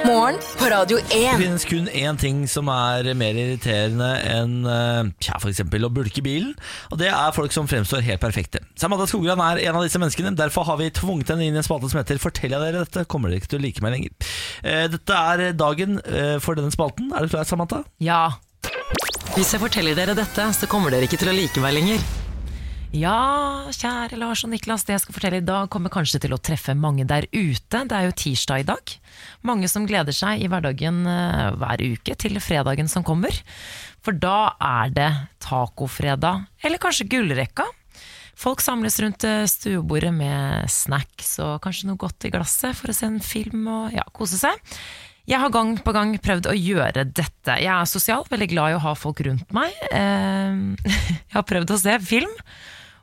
Speaker 4: Morgen på Radio
Speaker 1: Det
Speaker 4: 1.
Speaker 1: finnes kun én ting som er mer irriterende enn eh, tja, for eksempel å bulke i bilen, og det er folk som fremstår helt perfekte. Samantha Skogran er en av disse menneskene, derfor har vi tvunget henne inn i en spalte som heter Fortell jeg dere dette, kommer dere ikke til å like meg lenger. Eh, Dette er dagen eh, for denne spalten. Er du klar, Samantha?
Speaker 3: Ja.
Speaker 8: Hvis jeg forteller dere dette, så kommer dere ikke til å like meg lenger.
Speaker 3: Ja, kjære Lars og Niklas, det jeg skal fortelle i dag kommer kanskje til å treffe mange der ute. Det er jo tirsdag i dag. Mange som gleder seg i hverdagen eh, hver uke til fredagen som kommer. For da er det tacofredag, eller kanskje gullrekka. Folk samles rundt eh, stuebordet med snacks og kanskje noe godt i glasset for å se en film og ja, kose seg. Jeg har gang på gang prøvd å gjøre dette. Jeg er sosial, veldig glad i å ha folk rundt meg. Eh, Jeg har prøvd å se film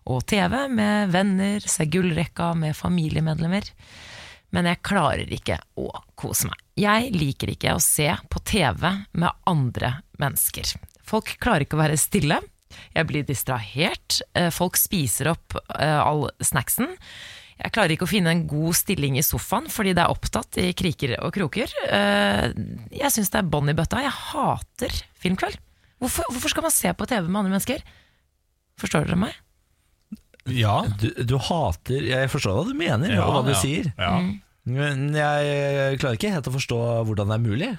Speaker 3: og TV med venner, se gullrekka med familiemedlemmer. Men jeg klarer ikke å kose meg. Jeg liker ikke å se på TV med andre mennesker. Folk klarer ikke å være stille. Jeg blir distrahert. Eh, Folk spiser opp eh, all snacksen. Jeg klarer ikke å finne en god stilling i sofaen fordi det er opptatt i kriker og kroker. Eh, Jeg syns det er bånn i bøtta. Jeg hater filmkveld. Hvorfor, hvorfor skal man se på TV med andre mennesker? Forstår dere meg?
Speaker 2: Ja,
Speaker 1: Du, du hater Jeg forstår hva du mener, og hva du
Speaker 2: ja.
Speaker 1: sier,
Speaker 2: Ja.
Speaker 1: men jeg klarer ikke helt å forstå hvordan det er mulig.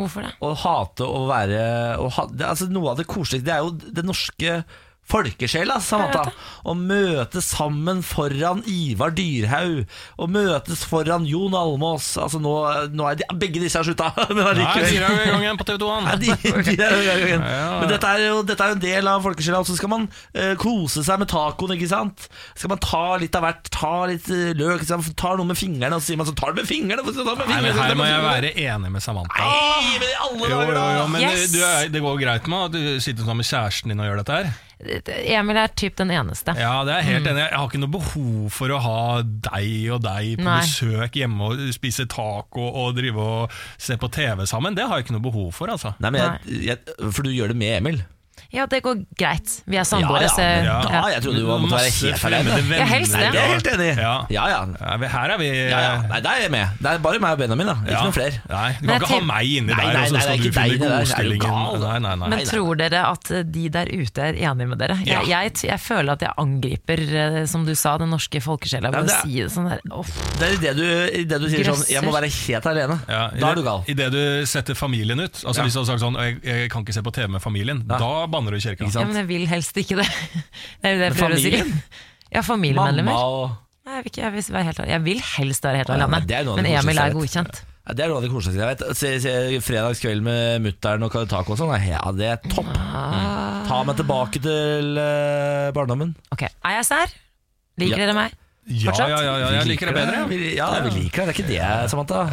Speaker 3: Hvorfor det?
Speaker 1: Å hate å være å ha, det, altså Noe av det koseligste Det er jo det norske folkesjela, Samantha. Å møtes sammen foran Ivar Dyrhaug. Å møtes foran Jon Almås. Altså nå, nå er de, begge disse har slutta, men
Speaker 2: Nei,
Speaker 1: allikevel.
Speaker 2: sier jeg jo i gang igjen på TV 2.
Speaker 1: Nei, de, de er jo i gang igjen. Men dette er, jo, dette er jo en del av folkesjela. Og så skal man eh, kose seg med tacoen. ikke sant? Skal man ta litt av hvert, ta litt eh, løk, ikke sant? tar noe med fingrene, og så sier man så tar det med fingrene! hvorfor skal du ta det med
Speaker 2: Nei,
Speaker 1: fingrene?
Speaker 2: men her må jeg
Speaker 1: Hvorfor skal du ta det med fingrene?
Speaker 2: være enig med Samantha.
Speaker 1: Nei, men i alle
Speaker 2: Jo, jo,
Speaker 1: dager, da!
Speaker 2: jo, men
Speaker 3: Yes!
Speaker 2: du er, det går jo greit med at du sitter sammen med kjæresten din og gjør dette her.
Speaker 3: Emil er typ den eneste.
Speaker 2: Ja, det er jeg
Speaker 3: Mm.
Speaker 2: helt enig. i. Jeg har ikke noe behov for å ha deg og deg på
Speaker 3: Nei.
Speaker 2: besøk hjemme og spise taco og drive og se på TV sammen. Det har jeg ikke noe behov for, altså.
Speaker 1: Nei, men jeg, jeg, For du gjør det med Emil?
Speaker 3: Ja, det går greit. Vi er samboere, så
Speaker 1: men
Speaker 2: ja.
Speaker 1: Da, jeg trodde du måtte være
Speaker 2: Masse
Speaker 1: helt
Speaker 2: fremmede
Speaker 1: alene.
Speaker 2: venner.
Speaker 3: helst det.
Speaker 1: Nei, det er jeg helt enig i.
Speaker 2: Ja.
Speaker 1: Ja, ja.
Speaker 2: Ja, vi- Her er vi
Speaker 1: ja, ja. Nei, der er jeg med. Det er bare meg og Benjamin, da. Ikke
Speaker 2: Ja.
Speaker 1: noen flere.
Speaker 2: Nei, Du kan
Speaker 3: Men jeg
Speaker 2: ikke ha
Speaker 3: tenk-
Speaker 2: meg inni
Speaker 1: Nei,
Speaker 2: der,
Speaker 1: nei,
Speaker 2: og så
Speaker 1: nei,
Speaker 2: skal
Speaker 1: det
Speaker 2: du
Speaker 1: er ikke
Speaker 2: finne
Speaker 1: deg, det er- er du
Speaker 2: godstillingen.
Speaker 1: gal?
Speaker 2: Nei, nei, nei.
Speaker 3: Men tror dere at de der ute er enige med dere?
Speaker 2: Ja.
Speaker 3: Jeg, jeg, jeg føler at jeg angriper, eh, som du sa, den norske folkesjela
Speaker 1: Ja,
Speaker 3: ved
Speaker 1: det
Speaker 3: å
Speaker 1: er-
Speaker 3: si det sånn der. Åh,
Speaker 1: Det er i det du, i det du sier sånn
Speaker 3: Grøsser.
Speaker 1: 'jeg må være helt alene'.
Speaker 2: Ja, i
Speaker 1: da
Speaker 2: det-
Speaker 1: er du gal.
Speaker 2: I det du setter familien ut. Altså
Speaker 1: Ja.
Speaker 2: Hvis du hadde sagt sånn jeg, 'jeg kan ikke se på TV med familien', da banner du i kirka.
Speaker 3: ja, men jeg vil helst ikke det. Det er jo det jeg
Speaker 1: Men
Speaker 3: prøver å si.
Speaker 1: familien?
Speaker 3: Ja,
Speaker 1: Mamma
Speaker 3: familiemedlemmer.
Speaker 1: og
Speaker 3: Nei, jeg, vil ikke, jeg, vil være helt, jeg vil helst være helt
Speaker 1: Ja,
Speaker 3: alene,
Speaker 1: men det er noe av det
Speaker 3: men Emil
Speaker 1: koseligste
Speaker 3: er
Speaker 1: jeg vet.
Speaker 3: godkjent.
Speaker 1: ja, Det er noe av det koseligste jeg vet. Se, se, fredagskveld med mutter'n og taco og sånn, nei, ja, det er topp. Ta meg tilbake til eh, barndommen.
Speaker 3: Ok, Er jeg sær? Liker
Speaker 1: Ja.
Speaker 3: dere meg?
Speaker 2: Ja,
Speaker 3: Fortsatt?
Speaker 2: ja, ja, ja, jeg liker det bedre.
Speaker 1: Vi, ja, vi liker det. Det er ikke det, Samantha.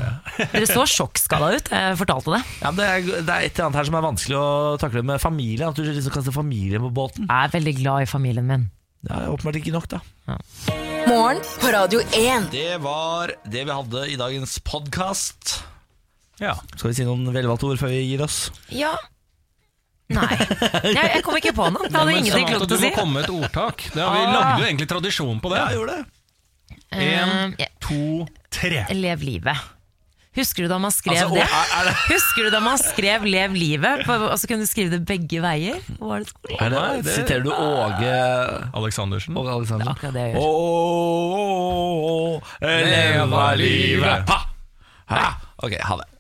Speaker 3: Dere så sjokkskada ut da jeg fortalte det.
Speaker 1: Ja, men det, er, det er et eller annet her som er vanskelig å takle med familien. At du liksom kaster familien på båten.
Speaker 3: Jeg er veldig glad i familien min.
Speaker 1: Ja, Åpenbart ikke nok, da.
Speaker 4: Morgen på Radio 1.
Speaker 1: Det var det vi hadde i dagens podkast.
Speaker 2: Ja.
Speaker 1: Skal vi si noen velvalgte ord før vi gir oss?
Speaker 3: Ja. Nei. Jeg, jeg kom ikke på noe. Jeg hadde
Speaker 2: Men
Speaker 3: ingenting
Speaker 2: Samantha,
Speaker 3: klokt å si.
Speaker 2: Du må komme med et ordtak. Det har vi lagde jo egentlig tradisjon på det.
Speaker 1: gjorde det.
Speaker 2: En,
Speaker 3: Eh,
Speaker 2: to, tre.
Speaker 3: Lev livet. Husker du da man skrev
Speaker 1: Altså, å,
Speaker 3: det?
Speaker 1: er, er det?
Speaker 3: Husker du da man skrev 'Lev livet'? På, og så kunne du skrive det begge veier? Var det skole?
Speaker 1: Er det,
Speaker 2: Nei, det-
Speaker 1: Siterer du Åge
Speaker 2: Aleksandersen.
Speaker 1: Åge Aleksandersen?
Speaker 3: Akkurat det jeg
Speaker 1: Å,
Speaker 3: gjør.
Speaker 1: å, å, å, leva livet! Ha! Ok, ha det.